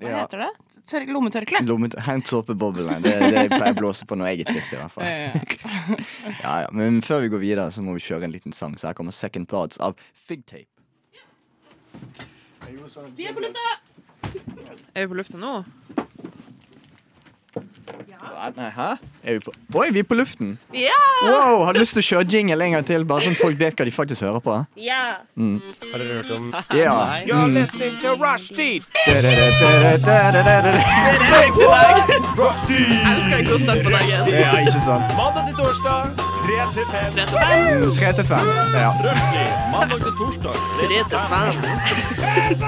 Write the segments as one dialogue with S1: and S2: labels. S1: Hva
S2: Ja.
S1: heter det? Tør
S3: Mm.
S1: lommetørkle?
S2: Lommet, hent såpeboblene. Det, det pleier jeg å blåse på når jeg er trist. i hvert fall
S1: Ja, ja.
S2: ja, ja. Men før vi går videre, så må vi kjøre en liten sang. Så her kommer Second Thoughts av Figtape.
S1: Vi er på lufta!
S4: Er vi på lufta nå?
S2: Nei, hæ? Er vi på Oi, vi er på luften! Wow, Har du lyst til å kjøre jingle en gang til, bare sånn folk vet hva de faktisk hører på? Mm.
S5: Har dere hørt om
S2: Ja.
S5: You're listening to Rushdie!
S4: Elsker ikke å starte på dagen.
S2: Ja, ikke sant?
S5: Mandag til torsdag, 3 til 5.
S2: Tre til fem. Ja.
S5: Rushdie. Mandag til torsdag.
S4: Tre til fem.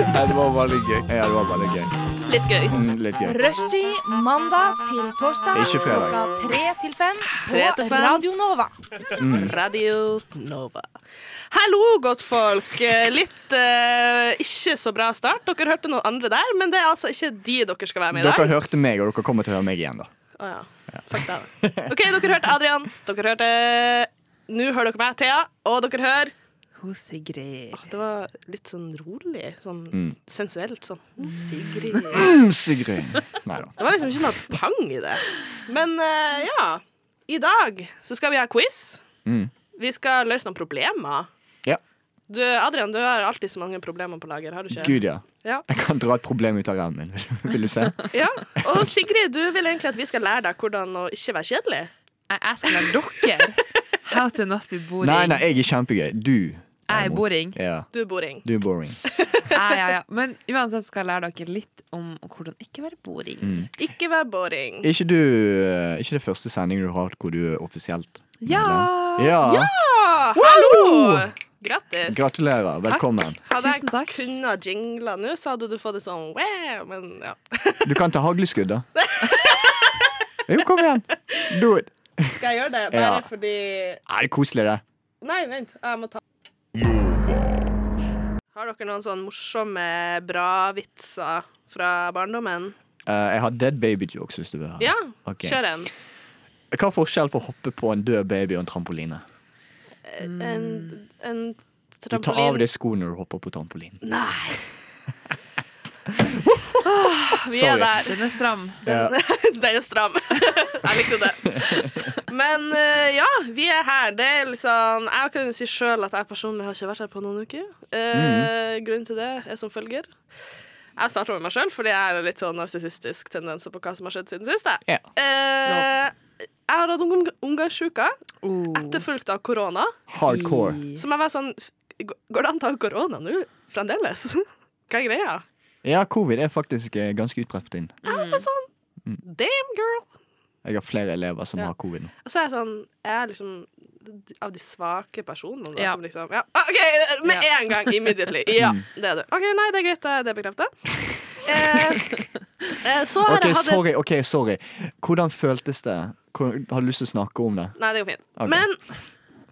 S2: Ja, det var veldig gøy. Ja, det var veldig gøy.
S4: Litt gøy.
S2: Mm, litt gøy.
S6: Rushtid mandag til torsdag
S2: Ikke fredag.
S6: klokka tre til fem
S4: Tre
S6: på
S4: til fem.
S6: Radio Nova.
S4: Radio Nova. Hallo, godtfolk. Eh, Litt eh, ikke så bra start. Dere hørte noen andre der, men det er altså ikke de dere skal være med i
S2: Dere
S4: dag.
S2: hørte meg, og dere kommer til å høre meg igjen, da.
S4: Å ja. Fuck det. da. OK, dere hørte Adrian. Dere hørte Nå hører dere meg, Thea. Og dere hører
S7: Hun Sigrid.
S4: Åh, Det var litt sånn rolig. Sånn sensuelt. Sånn «Å, Sigrid.
S2: Mm, Sigrid. Nei da.
S4: Det var liksom ikke noe pang i det. Men eh, ja. I dag så skal vi ha quiz.
S2: Mm.
S4: Vi skal løse noen problemer.
S2: Ja.
S4: Du, Adrian, du har alltid så mange problemer på lager, har du ikke?
S2: Gud, ja.
S4: Ja.
S2: Jeg kan dra et problem ut av rammen. Vil du se?
S4: Ja. Og Sigrid, du vil egentlig at vi skal lære deg hvordan å ikke være kjedelig.
S7: Jeg, jeg skal lære dere how to not be boring.
S2: Nei, nei, jeg er kjempegøy. Du.
S7: Jeg er boring.
S2: Ja.
S4: Du er boring.
S2: Du er boring.
S7: Ja, ja, ja. Men uansett skal jeg lære dere litt om hvordan ikke være boring.
S2: Mm.
S4: Ikke vær boring.
S2: Er ikke du eh, ikke det første sendingen du har hatt hvor du er offisielt
S7: Ja!
S2: medlem? Ja.
S4: Ah, hallo! Grattis.
S2: Gratulerer. Velkommen.
S4: Hadde
S7: Tusen
S4: jeg
S7: takk.
S4: kunnet jingle nå, så hadde du fått et sånn wow, men ja.
S2: Du kan ta hagleskudd, da. Jo, kom igjen. Do it.
S4: Skal jeg gjøre det? Bare
S2: Ja.
S4: fordi
S2: Nei, det er koselig, det.
S4: Nei, vent. Jeg må ta Har dere noen sånn morsomme bra-vitser fra barndommen?
S2: Eh, jeg har dead baby jokes, hvis du vil ha.
S4: Ja,
S2: Ok.
S4: kjør en.
S2: Hva er forskjellen på å hoppe på en død baby og en trampoline?
S4: En, en
S2: Du tar av
S4: trampolin
S2: deg skoene når du hopper på trampolinen.
S4: Nei. Vi
S2: Sorry.
S4: er der.
S7: Den er stram.
S2: Ja.
S4: Den er stram. Jeg likte det. Men eh, ja, vi er her. Det er liksom, jeg kan jo si sjøl at jeg personlig har ikke vært her på noen uker. Eh, Grunnen til det er som følger. Jeg starter med meg sjøl, fordi jeg har litt sånn narsissistisk tendenser på hva som har skjedd siden sist. jeg.
S2: Ja.
S4: Eh, jeg har hatt omg- omgangsuka,
S7: Oh.
S4: etterfulgt av korona.
S2: Hardcore.
S4: Som jeg var sånn f- Går det an å ta korona nå? Fremdeles? Hva er greia?
S2: Ja, covid er faktisk eh, ganske utbredt på tiden.
S4: Jeg var sånn Damn, girl!
S2: Jeg har flere elever som
S4: Ja.
S2: har covid nå.
S4: Og så er jeg sånn Jeg er liksom av de svake personene. Da,
S7: Ja.
S4: Som liksom, ja. ah, OK, med
S7: Ja.
S4: en gang! Immediately. Ja,
S2: Mm.
S4: det er du. OK, nei, det er greit. Det er bekrefta. Eh, eh, så har
S2: Ok,
S4: jeg hatt et-
S2: sorry, ok, sorry. Hvordan føltes det? Hvordan, har du lyst til å snakke om det?
S4: Nei, det går fint.
S2: Ok.
S4: Men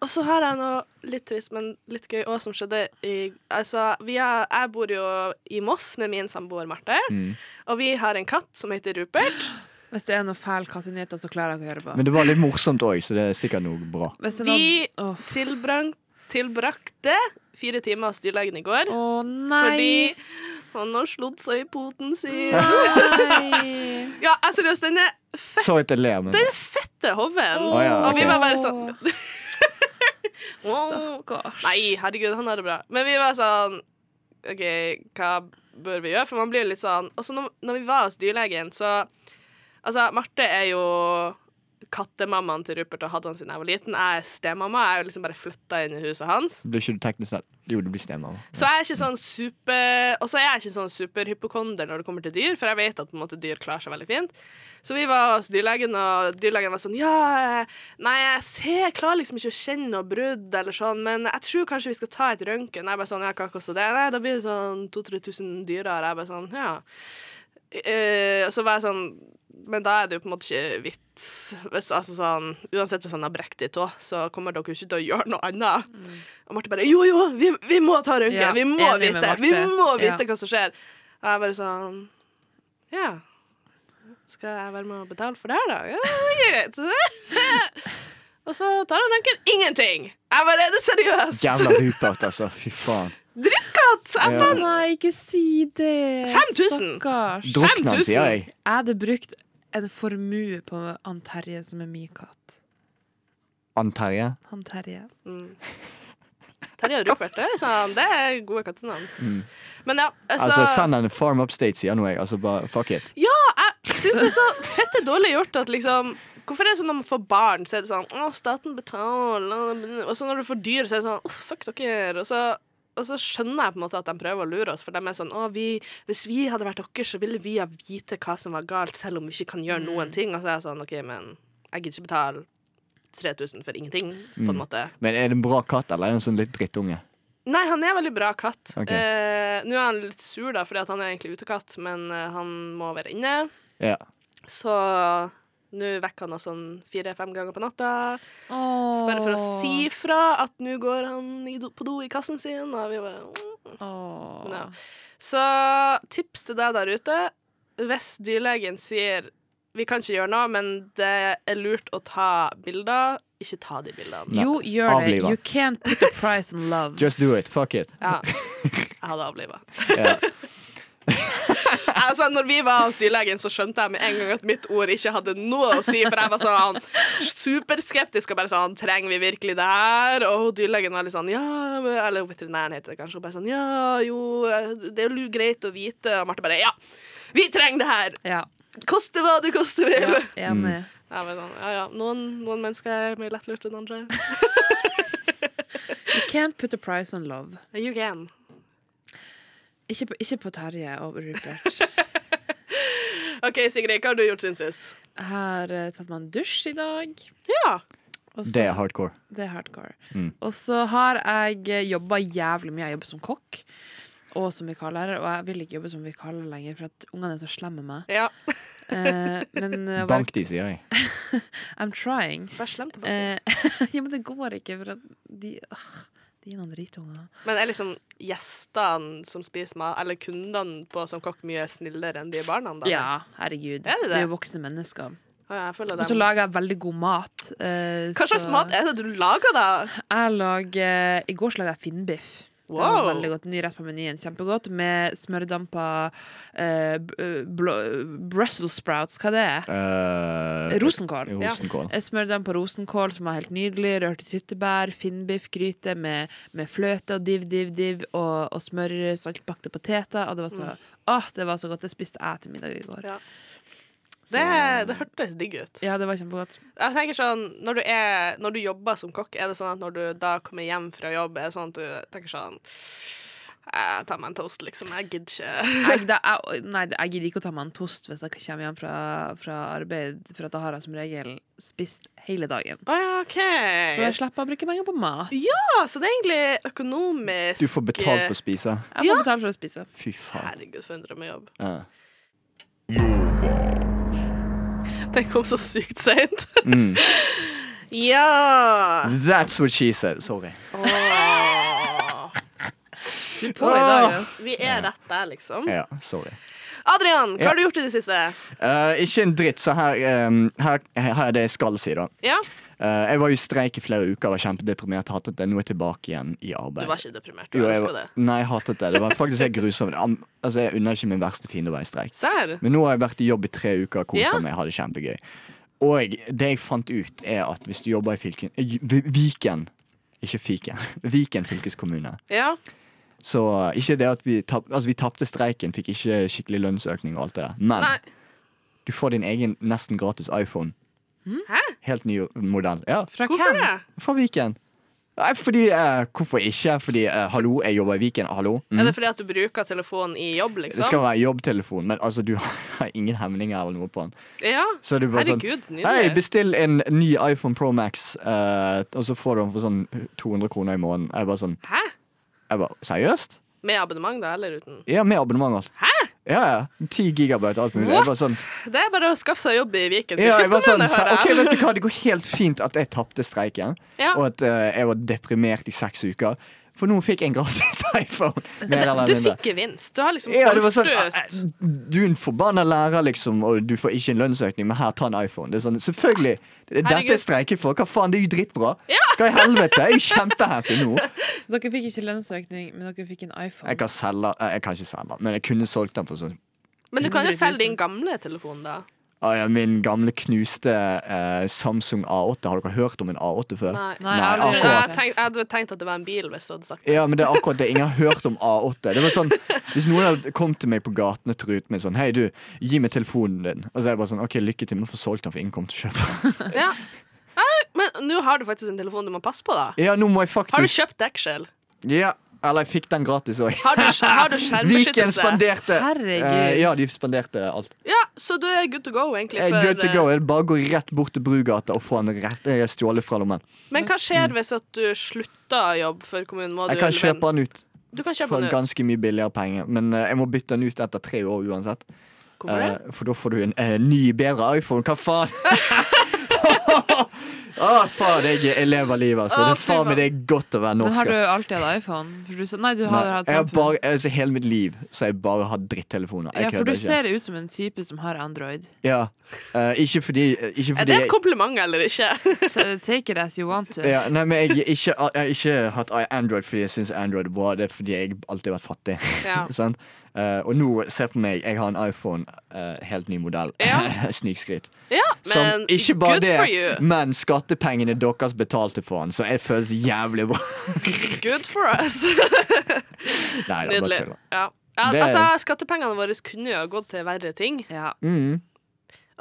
S4: Og så har jeg noe litt trist, men litt gøy òg, som skjedde i Altså, vi er, jeg bor jo i Moss med min samboer Marte,
S2: Mm.
S4: og vi har en katt som heter Rupert.
S7: Hvis det er noe fæl kattenyheter, så klarer jeg ikke å høre på.
S2: Men det var litt morsomt òg, så det er sikkert noe bra.
S7: Hvis det er
S4: Vi
S7: noen- Åh.
S4: tilbrang, tilbrakte fire timer hos dyrlegen i går.
S7: Å
S4: Fordi
S7: nei!
S4: han har slått seg i poten sin.
S7: Nei!
S4: Ja, jeg seriøst, den er
S2: Sorry at jeg ler, men
S4: fette hoven.
S2: Å, ja,
S4: Og vi
S2: ok.
S4: var bare sånn
S7: Stakkars.
S4: Nei, herregud, han har det bra. Men vi var sånn OK, hva bør vi gjøre? For man blir jo litt sånn Og så når, når vi var hos dyrlegen, så Altså, Marte er jo kattemammaen til Rupert og hadde han siden jeg var liten. Jeg er stemamma. Jeg er jo liksom bare flytta inn i huset hans.
S2: blir ikke du teknisk sett Jo, du blir stemmer.
S4: Så jeg er ikke sånn super Og så er jeg ikke sånn superhypokonder når det kommer til dyr, for jeg vet at på en måte dyr klarer seg veldig fint. Så vi var hos dyrlegen, og dyrlegen var sånn Ja, eh, nei, jeg ser jeg klarer liksom ikke å kjenne noe brudd eller sånn, men jeg tror kanskje vi skal ta et røntgen. Jeg bare sånn Ja, hva koster det? Nei, da blir det sånn 2000-3000 dyrere. Jeg bare sånn Ja. Eh, og så var jeg sånn Men da er det jo på en måte ikke vits. Hvis, altså sånn, uansett hvis han har brekt i tå, så kommer dere jo ikke til å gjøre noe annet. Og Marte bare Jo, jo, vi, vi må ta røntgen!
S7: Ja,
S4: vi må
S7: enig med
S4: vite!
S7: Marte.
S4: Vi må
S7: Ja.
S4: vite hva som skjer! Og jeg bare sånn Ja. Skal jeg være med og betale for det her, da? Ja, det er greit. og så tar han røntgen. Ingenting! Jeg bare Er det seriøst?
S2: Jævla Rupert, altså. Fy faen.
S4: Drittkatt! Jeg
S2: Ja.
S4: fant
S3: Nei, ikke si det!
S4: 5000.
S3: Stakkars.
S2: Drukna,
S4: 5000.
S2: sier jeg.
S3: Jeg hadde brukt en formue på han Terje som er min katt.
S2: Ann Terje.
S3: Han Terje.
S4: Mm. Terje og Rupert, det er, sånn, det er gode kattenavn. Men ja, altså,
S2: Altså, send han en farm upstate, sier nå jeg. Altså, bare fuck it.
S4: Jeg syns det er så fette dårlig gjort at liksom Hvorfor er det sånn når man får barn, så er det sånn Å, staten betaler Og så når du får dyr, så er det sånn Åh, fuck dere. Og så, og så skjønner jeg på en måte at de prøver å lure oss, for de er sånn Å, vi Hvis vi hadde vært dere, så ville vi ha vite hva som var galt, selv om vi ikke kan gjøre noen ting. Og så er jeg sånn OK, men jeg gidder ikke betale 3000 for ingenting, på en måte.
S2: Men er det en bra katt, eller er det en sånn litt drittunge?
S4: Nei, han er en veldig bra katt.
S2: Ok.
S4: Eh, Nå er han litt sur, da, fordi at han er egentlig utekatt, men eh, han må være inne.
S2: Ja.
S4: Så nå vekker han oss sånn fire-fem ganger på natta. Bare for å si fra at nå går han i do, på do i kassen sin. Og vi bare mm.
S3: Åh.
S4: Men ja. Så tips til deg der ute. Hvis dyrlegen sier vi kan ikke gjøre noe, men det er lurt å ta bilder, ikke ta de bildene.
S2: Nei,
S3: Jo, gjør det.
S2: avliva.
S3: You can't put the price on love.
S2: Just do it. Fuck it.
S4: Ja. Jeg hadde avliva.
S2: Ja.
S4: Altså, når vi var hos dyrlegen, så skjønte jeg med en gang at mitt ord ikke hadde noe å si, for jeg var sånn superskeptisk og bare sånn Trenger vi virkelig det her? Og dyrlegen var litt sånn Ja, men- eller veterinæren heter det kanskje, og bare sånn Ja, jo, det er jo greit å vite. Og Marte bare Ja, vi trenger det her!
S3: Ja.
S4: Koste hva det koste vil!
S3: ja
S2: Mm.
S3: enig.
S4: Jeg var sånn, ja, ja. Noen, noen mennesker er mer lettlurt enn andre.
S3: You can't put the price on love.
S4: You can.
S3: Ikke på, ikke på Terje og Rupert.
S4: OK, Sigrid, hva har du gjort siden sist?
S3: Jeg har eh, tatt meg en dusj i dag.
S4: Ja.
S3: og så-
S2: Det er hardcore.
S3: Det er hardcore.
S2: Mm.
S3: Og så har jeg jobba jævlig mye. Jeg jobber som kokk og som vikarlærer, og jeg vil ikke jobbe som vikarlærer lenger, for at ungene er så slemme med meg.
S4: ja.
S3: Eh, men å være-
S2: Bank de, sier jeg.
S3: I'm trying.
S4: Vær slem til meg.
S3: Eh, ja, men det går ikke, for at de åh, De er noen dritunger.
S4: Men er liksom gjestene som spiser mat, eller kundene på som kokk, mye snillere enn de barna? da?
S3: Ja, herregud.
S4: altså. Er det det?
S3: De er jo voksne mennesker.
S4: Å, ja, jeg føler
S3: Og så
S4: dem.
S3: lager jeg veldig god mat. eh,
S4: Hva slags
S3: så-
S4: mat er det du lager, da?
S3: Jeg lager I går så laga jeg finnbiff. Det var
S4: Wow.
S3: veldig godt, Ny rett på menyen. Kjempegodt. Med smørdampa eh, b- blå- Brussels sprouts, hva det er?
S2: Eh,
S3: Rosenkål.
S2: Rosenkål.
S3: Eh, Smørdampa rosenkål, som var helt nydelig. Rørte tyttebær. Finnbiffgryte med, med fløte og div, div, div. Og, og smør, saltbakte poteter. Og det var så Åh, det var så godt. Det spiste jeg til middag i går.
S4: Mm. Ja. Det, det hørtes digg ut.
S3: Ja, det var kjempegodt.
S4: Jeg tenker sånn, når du, er, når du jobber som kokk, er det sånn at når du da kommer hjem fra jobb, er det sånn at du tenker sånn Jeg tar meg en toast, liksom. Jeg gidder ikke.
S3: jeg, da, jeg, nei, jeg gidder ikke å ta meg en tost hvis jeg kommer hjem fra, fra arbeid, for at da har jeg som regel spist hele dagen.
S4: Å ja, OK.
S3: Så jeg slipper å bruke penger på mat.
S4: Ja, så det er egentlig økonomisk
S2: Du får betalt for å spise.
S3: Jeg får betale for å spise.
S2: Fy faen.
S4: Herregud, for en drømmejobb.
S2: Ja.
S4: Den kom så sykt seint.
S2: Mm.
S4: ja!
S2: That's what she said. Sorry.
S3: På i dag, ass.
S4: Vi er rett der, liksom.
S2: Ja, sorry.
S4: Adrian, hva
S2: Ja.
S4: har du gjort i det siste?
S2: Eh, ikke en dritt, så her, ehm, her, her er det jeg skal si, da.
S4: Ja?
S2: Eh, jeg var jo i streik i flere uker, var kjempedeprimert, hatet det. Nå er jeg tilbake igjen i
S4: Du
S2: arbeid.
S4: var ikke deprimert. Du
S2: Jo, jeg
S4: elsker
S2: var-
S4: det.
S2: Nei, jeg hatet det. Det var faktisk helt grusomt. Am- Altså, jeg unner ikke min verste fiende å være i streik.
S4: Serr?
S2: Men nå har jeg vært i jobb i tre uker og kosa
S4: Ja.
S2: meg, har det kjempegøy. Og det jeg fant ut, er at hvis du jobber i fylken eh, Vi- Viken, ikke Fiken. Viken fylkeskommune.
S4: Ja.
S2: Så eh, ikke det at vi tap, Altså, vi tapte streiken, fikk ikke skikkelig lønnsøkning og alt det der. Men
S4: Nei.
S2: du får din egen nesten gratis iPhone.
S4: Hæ?
S2: Helt ny modell. Ja,
S3: Fra
S4: Hvorfor
S3: hvem?
S4: det?
S2: fra Viken. Nei, fordi eh, Hvorfor ikke? Fordi eh, hallo, jeg jobber i Viken. Hallo. Mm.
S4: Er det fordi at du bruker telefonen i jobb,
S2: Det skal
S4: liksom?
S2: være jobbtelefon, men altså, du har ingen hemninger eller noe på den.
S4: Ja.
S2: Så det er bare
S4: Herregud,
S2: sånn Hei,
S4: nydelig.
S2: bestill en ny iPhone Pro Max, eh, og så får du den for sånn 200 kroner i måneden. Jeg bare sånn
S4: Hæ?
S2: jeg bare, Seriøst?
S4: Med abonnement, da, eller uten?
S2: Ja, med abonnement og alt. Hæ? Ja, ja. 10 gigabyte og alt mulig. Jeg bare sånn,
S4: Det er bare å skaffe seg jobb i Viken
S2: ja, jeg bare sånn
S4: fylkeskommune,
S2: sa- OK,
S4: hører jeg.
S2: vet du hva, det går helt fint at jeg tapte streiken,
S4: Ja.
S2: og at eh, jeg var deprimert i seks uker, For nå fikk jeg en gratis iPhone. Mer eller
S4: Du
S2: mindre.
S4: fikk gevinst. Du har liksom
S2: Ja, det var sånn,
S4: kortsluttet.
S2: Du er en forbanna lærer, liksom, og du får ikke en lønnsøkning, men her, ta en iPhone. Det er sånn, selvfølgelig. Det er dette
S4: Herregud.
S2: jeg streiker for. Hva faen, det er jo dritbra. Hva i helvete? Jeg er jo kjempehappy nå.
S3: Så dere fikk ikke lønnsøkning, men dere fikk en iPhone.
S2: Jeg kan selge eh, Jeg kan ikke selge, den, men jeg kunne solgt den for sånn
S4: Men du kan jo
S3: 100 000.
S4: selge din gamle telefon, da.
S2: ah, ja, Min gamle knuste eh, Samsung A8. Har dere hørt om en A8 før?
S4: Nei.
S3: Nei,
S2: Nei,
S4: Jeg,
S3: jeg
S4: tror-
S3: har
S2: akkurat.
S4: jeg, tenk, jeg hadde tenkt at det var en bil hvis du hadde sagt det.
S2: Ja, men det er akkurat det. Ingen har hørt om A8. Det var sånn, Hvis noen hadde kommet til meg på gaten og truet meg sånn Hei, du, gi meg telefonen din. Og så er det bare sånn OK, lykke til med å få solgt den for ingen kommer til å kjøpe den.
S4: Ja. Nei, Men nå har du faktisk en telefon du må passe på, da.
S2: Ja, nå må jeg
S4: Har du
S2: faktisk
S4: kjøpt dekkskjell?
S2: Ja, Eller jeg fikk den gratis òg.
S4: Har du, har du
S2: Viken
S4: skjermbeskyttelse?
S2: spanderte.
S3: Herregud.
S2: eh, ja, de spanderte alt.
S4: Ja, så du er good to go, egentlig.
S2: Eh,
S4: for,
S2: Good to go. Det er bare å gå rett bort til Brugata og få den rett, eh, stjålet fra lommen.
S4: Men hva skjer hvis at du slutter å jobbe for kommunen? Må
S2: Mm. Jeg
S4: du
S2: kan
S4: levere den?
S2: kjøpe den ut
S4: Du kan kjøpe
S2: for
S4: den ut.
S2: ganske mye billigere penger, men eh, jeg må bytte den ut etter tre år uansett.
S4: Hvorfor det?
S2: Eh, for da får du en eh, ny, bedre iPhone. Hva faen? Å, faen, jeg, jeg lever livet, altså.
S4: Å,
S2: det er
S4: fy
S2: faen meg det
S4: faen.
S2: er godt å være
S3: Men har
S2: norsk.
S3: du
S2: ja.
S3: alltid hatt iPhone? For du, sa- nei, du har
S2: Nei,
S3: hatt
S2: jeg har
S3: Samsung.
S2: bare, altså, hele mitt liv så har jeg bare hatt drittelefoner. Jeg
S3: ja, for
S2: kødder
S3: du
S2: ikke.
S3: ser ut som en type som har Android.
S2: Ja. Eh, ikke fordi, ikke
S4: Er
S2: fordi
S4: det et
S2: jeg-
S4: kompliment eller ikke?
S3: Så take it as you want to.
S2: Ja, nei, men jeg, ikke, jeg har ikke hatt Android fordi jeg syns Android er bra. Det er fordi jeg alltid har vært fattig.
S4: Ja.
S2: Sant? Eh, og nå, se på meg, jeg har en iPhone, eh, helt ny modell.
S4: Ja.
S2: Snikskryt.
S4: Ja,
S2: Som
S4: men
S2: ikke bare
S4: good
S2: det,
S4: for you.
S2: men skattepengene deres betalte for den, så det føles jævlig bra.
S4: Good for us.
S2: Nei, det er bare
S4: Nydelig.
S2: tull.
S4: Ja. Ja,
S2: Det er-
S4: altså, skattepengene våre kunne jo ha gått til verre ting.
S3: Ja.
S2: Mm.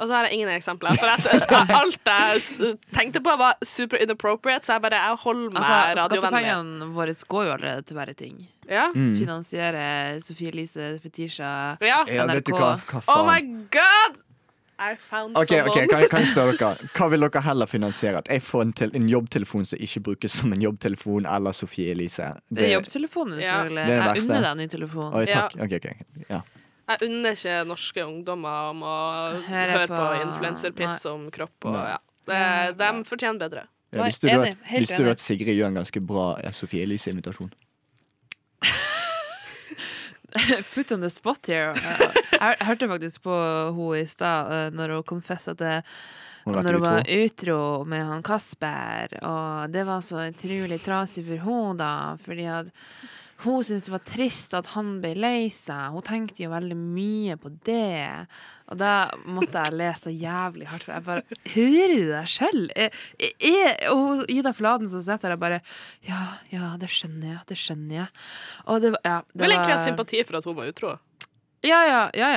S4: Og så har jeg ingen eksempler. For at eh, alt jeg s- tenkte på, var super inappropriate, så jeg bare jeg holder meg
S3: Altså,
S4: radiovennlig.
S3: Skattepengene våre går jo allerede til verre ting.
S4: Ja.
S2: Mm.
S3: Finansiere Sofie Elise, Fetisha
S4: ja.
S2: Ja, vet du
S3: NRK.
S2: hva? hva
S4: Oh my
S2: faen?
S4: god! I found
S2: Ok, ok,
S4: someone.
S2: kan, jeg- kan jeg spørre dere Hva vil dere heller finansiere? At jeg får en, tel- en jobbtelefon som ikke brukes som en jobbtelefon, eller Sofie Elise?
S3: Det er jobbtelefonen,
S4: Ja.
S2: Det
S3: selvfølgelig.
S2: er det
S3: Jeg
S2: verste.
S3: unner deg en ny telefon.
S2: Oi, takk. Ok, ok, Ja.
S4: Jeg unner ikke norske ungdommer om å
S3: Høre
S4: høre på,
S3: på-
S4: influenserpiss om kropp og
S2: Nei.
S4: ja. Det, de fortjener bedre.
S2: Ja,
S3: Nei,
S2: visste du,
S3: enig.
S2: at,
S3: Helt
S2: visste du
S3: enig.
S2: at Sigrid gjør en ganske bra eh, Sofie Elise-invitasjon?
S3: Put on the spot here. Jeg, jeg hørte faktisk på henne i stad eh, når hun confessa at det,
S2: Hun har
S3: når hun var
S2: vært utro.
S3: utro med han Kasper. Og det var så utrolig trasig for henne, da. Fordi at hun syntes det var trist at han ble lei seg. Hun tenkte jo veldig mye på det. Og da måtte jeg le så jævlig hardt, for jeg bare Hører du deg sjøl? eh, Og Ida Fladen som sitter der og bare Ja, ja, det skjønner jeg, det skjønner jeg. Og det var Ja. Det
S4: Vil egentlig ha
S3: var-
S4: sympati for at hun var utro.
S3: ja, ja, ja,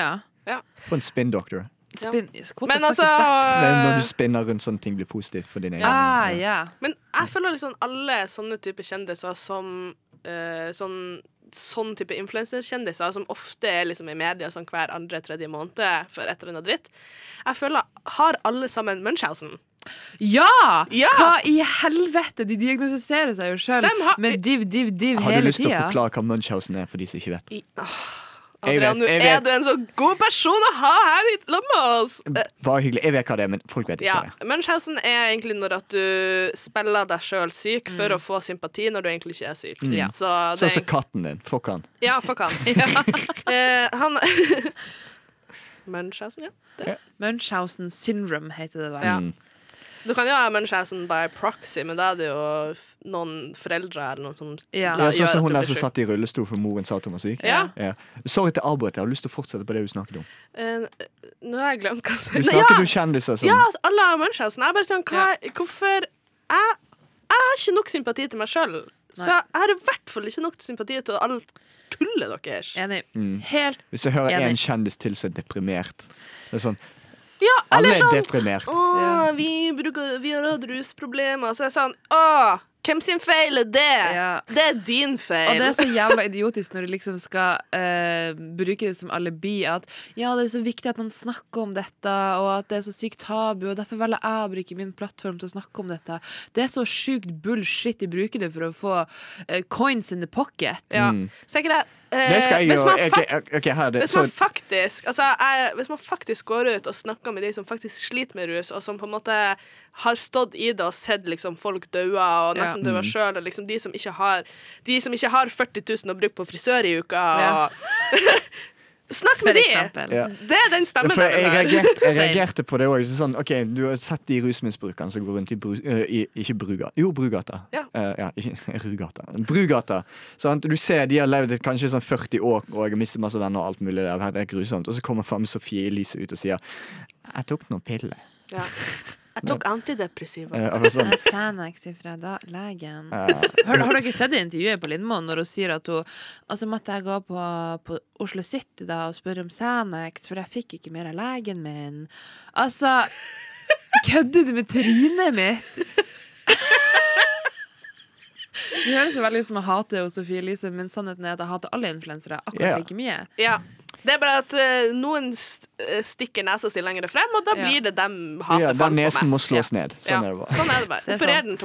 S3: ja.
S2: For en spin doctor.
S4: Ja.
S3: Spin, what
S4: Men
S3: the fuck
S4: altså
S3: is that?
S2: Det er når du spinner rundt sånne ting blir positivt for din egen.
S3: Ah, ja.
S4: Men jeg føler liksom alle sånne type kjendiser som eh, sånn Sånn type influenserkjendiser som ofte er liksom i media sånn hver andre, tredje måned for et eller annet dritt. Jeg føler Har alle sammen Munchhausen?
S3: ja!
S4: Ja!
S3: Hva i helvete? De diagnostiserer seg jo sjøl
S4: Dem har-
S3: med div, div, div
S2: Har du
S3: hele
S2: lyst til å
S3: tida.
S2: forklare hva Munchhausen er for de som ikke vet?
S4: I, åh,
S2: Jeg vet,
S4: Adrian, nå
S2: jeg
S4: er
S2: vet.
S4: du en så god person å ha her i lag med oss! Eh,
S2: Bare hyggelig. Jeg vet hva det er, men folk vet ikke
S4: Ja,
S2: hva det.
S4: Munchhausen er egentlig når at du spiller deg sjøl syk for å få sympati når du egentlig ikke er syk.
S3: Mm. Ja.
S4: Så
S2: er.
S4: det
S2: Sånn
S4: er,
S2: som katten din. Fuck han.
S4: ja, fuck han. eh, han Munchhausen, ja.
S3: Munchhausen syndrome heter det der.
S4: ja.
S2: Mm.
S4: Du kan jo ha Munchhausen by proxy, men da er det jo f- noen foreldre eller noen som
S3: Ja.
S2: Ja,
S4: la-
S2: sånn som
S4: gjør at
S2: hun
S4: du
S2: der
S4: blir
S2: som
S4: syk.
S2: satt i rullestol for moren sa at hun var syk.
S4: Ja.
S2: Ja. Sorry til å avbryte, jeg har lyst til å fortsette på det du snakket om.
S4: Eh, nå har jeg glemt
S2: Du
S4: hva jeg sa.
S2: snakket om kjendiser som
S4: Ja, at alle har Munchhausen. Jeg er bare sånn, hva, hvorfor jeg, jeg har ikke nok sympati til meg sjøl. Så
S3: Nei.
S4: jeg har i hvert fall ikke nok sympati til all tullet deres.
S3: Enig.
S2: Mm.
S3: Helt
S2: Hvis jeg hører
S3: Enig.
S2: en kjendis til som er deprimert Det er sånn,
S4: Ja,
S2: Alle
S4: eller
S2: er
S4: sånn
S2: deprimert.
S4: Å, vi, bruker, vi har hatt rusproblemer. Så jeg er sånn Å, hvem sin feil er det?
S3: Ja.
S4: Det er din
S3: Og
S4: feil.
S3: det er så jævla idiotisk når du liksom skal eh, bruke det som alibi at ja, det er så viktig at man snakker om dette, og at det er så sykt tabu, og derfor velger jeg å bruke min plattform til å snakke om dette. Det er så sjukt bullshit de bruker det for å få eh, coins in the pocket.
S4: ja. Så jeg er ikke det Eh,
S2: Mm. Det skal jeg
S4: hvis man
S2: gjøre. Ok,
S4: fakt-
S2: ok, ok, her er det.
S4: Hvis
S2: Så,
S4: man, faktisk, altså, jeg, hvis man faktisk går ut og snakker med de som faktisk sliter med rus, og som på en måte har stått i det og sett liksom, folk daue og nesten
S2: Ja. Mm.
S4: daue sjøl, og liksom de som ikke har De som ikke har 40 000 å bruke på frisør i uka
S7: Ja.
S4: og Snakk
S7: for
S4: med de!
S7: eksempel.
S2: ja.
S4: Det er den stemmen
S2: For jeg,
S4: den har.
S2: reagerte, jeg
S7: Same.
S2: reagerte på det òg. Sånn, ok, du har sett de rusmisbrukerne som går rundt i, bru, eh, i Ikke Brugata. Jo, Brugata.
S4: Ja.
S2: Eh, ja, ikke Rugata. Brugata. Sant? Du ser de har levd et, kanskje sånn 40 år og har mistet masse venner og alt mulig. Der. Det er grusomt. Og så kommer faen meg Sofie Elise ut og sier 'Jeg tok noen piller'.
S4: Ja. Jeg tok antidepressiva.
S2: Eh, og det er sånn,
S7: Det er Xanax fra da, legen. Har, har dere sett det intervjuet på Lindmoen når hun sier at hun Altså måtte jeg gå på, på Oslo City da og spørre om Xanax, for jeg fikk ikke mer av legen min. Altså Kødder du med trynet mitt?! Det høres veldig ut som jeg hater henne, Sofie Elise, men sannheten er at jeg hater alle influensere akkurat
S2: Ja.
S7: like mye.
S4: Ja. Det er bare at eh, noen st eh, stikker nesa si lenger frem, og da
S7: Ja.
S4: blir det dem hater
S2: ja,
S4: folk på
S2: den nesen må
S4: mest.
S2: slås ned. Sånn
S4: ja.
S2: er det bare.
S4: Sånn er det bare.
S7: Det er
S4: Operer
S7: sant.
S4: den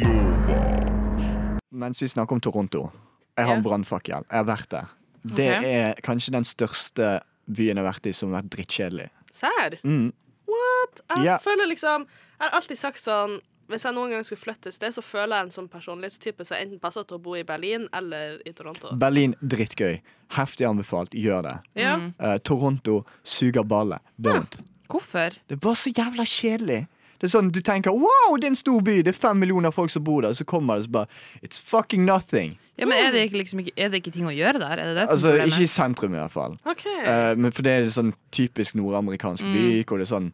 S4: tilbake igjen.
S2: Mens vi snakker om Toronto Jeg har en
S4: Ja.
S2: brannfakkel. Jeg har vært der. Det
S7: Ok.
S2: er kanskje den største byen jeg har vært i som har vært drittkjedelig.
S4: Sær.
S2: Mm.
S4: What? Jeg
S2: Ja.
S4: føler liksom Jeg har alltid sagt sånn Hvis jeg noen gang skulle flytte et sted, så føler jeg en sånn personlighetstype som enten passer til å bo i Berlin eller i Toronto.
S2: Berlin drittgøy. Heftig anbefalt. Gjør det.
S4: Ja.
S2: Eh, Toronto suger ballet. Don't.
S7: Hvorfor?
S2: Det var så jævla kjedelig. Det er sånn, Du tenker wow, det er en stor by, det er fem millioner folk som bor der, og så kommer det så bare It's fucking nothing.
S7: Ja, men er det, ikke, liksom, ikke, er det ikke ting å gjøre der? Er det det som
S2: Altså,
S7: er problemet?
S2: Ikke i sentrum, i hvert fall.
S4: OK.
S2: Eh, men for det er sånn typisk nordamerikansk by,
S4: Mm.
S2: hvor det er sånn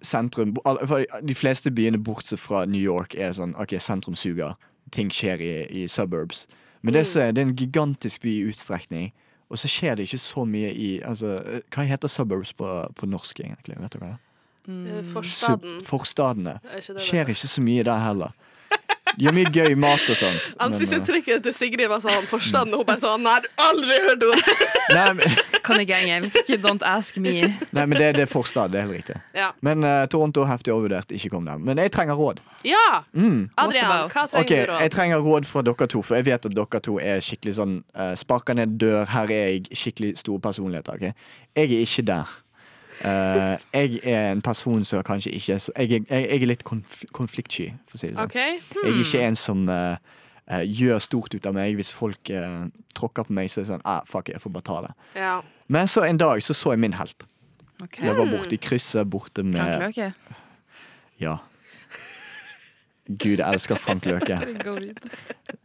S2: sentrum al- for De fleste byene bortsett fra New York er sånn OK, sentrum suger. Ting skjer i, i suburbs. Men
S4: Mm.
S2: det, som er, det er en gigantisk by i utstrekning, og så skjer det ikke så mye i altså, eh, Hva heter suburbs på, på norsk, egentlig? Vet du hva?
S4: Eh,
S2: Sub-
S4: Forstaden.
S2: Forstadene.
S4: Er ikke det
S2: Skjer
S4: det?
S2: ikke så mye der heller. De har mye gøy mat og sånt. men, eh,
S4: Ansiktsuttrykket til Sigrid var sånn forstaden, og hun bare sånn Nei, jeg har aldri hørt ordet!
S2: nei, men,
S7: Kan ikke engelsk. Don't ask me.
S2: nei, men det, det er forstad. Det er helt riktig.
S4: Ja.
S2: Men eh, Toronto heftig overvurdert. Ikke kom der. Men jeg trenger råd.
S4: ja. Adrian,
S7: What about?
S4: hva trenger
S2: Mm. Ok,
S4: du
S2: Jeg
S4: råd?
S2: trenger råd fra dere to, for jeg vet at dere to er skikkelig sånn eh, Sparker ned dør, her er jeg. Skikkelig store personligheter. ok? Jeg er ikke der. Eh, jeg er en person som kanskje ikke er så Jeg er, jeg, jeg er litt konf konfliktsky, for å si det sånn.
S4: OK. Hm.
S2: Jeg er ikke en som eh, eh, gjør stort ut av meg hvis folk eh, tråkker på meg. Så er det sånn, ah, fuck, jeg får bare ta det.
S4: Ja.
S2: Men så en dag så, så jeg min helt.
S7: Ok.
S2: Jeg var borte i krysset, borte
S7: Frank
S2: med
S7: Løke.
S2: Ja. Gud, jeg elsker Frank Løke.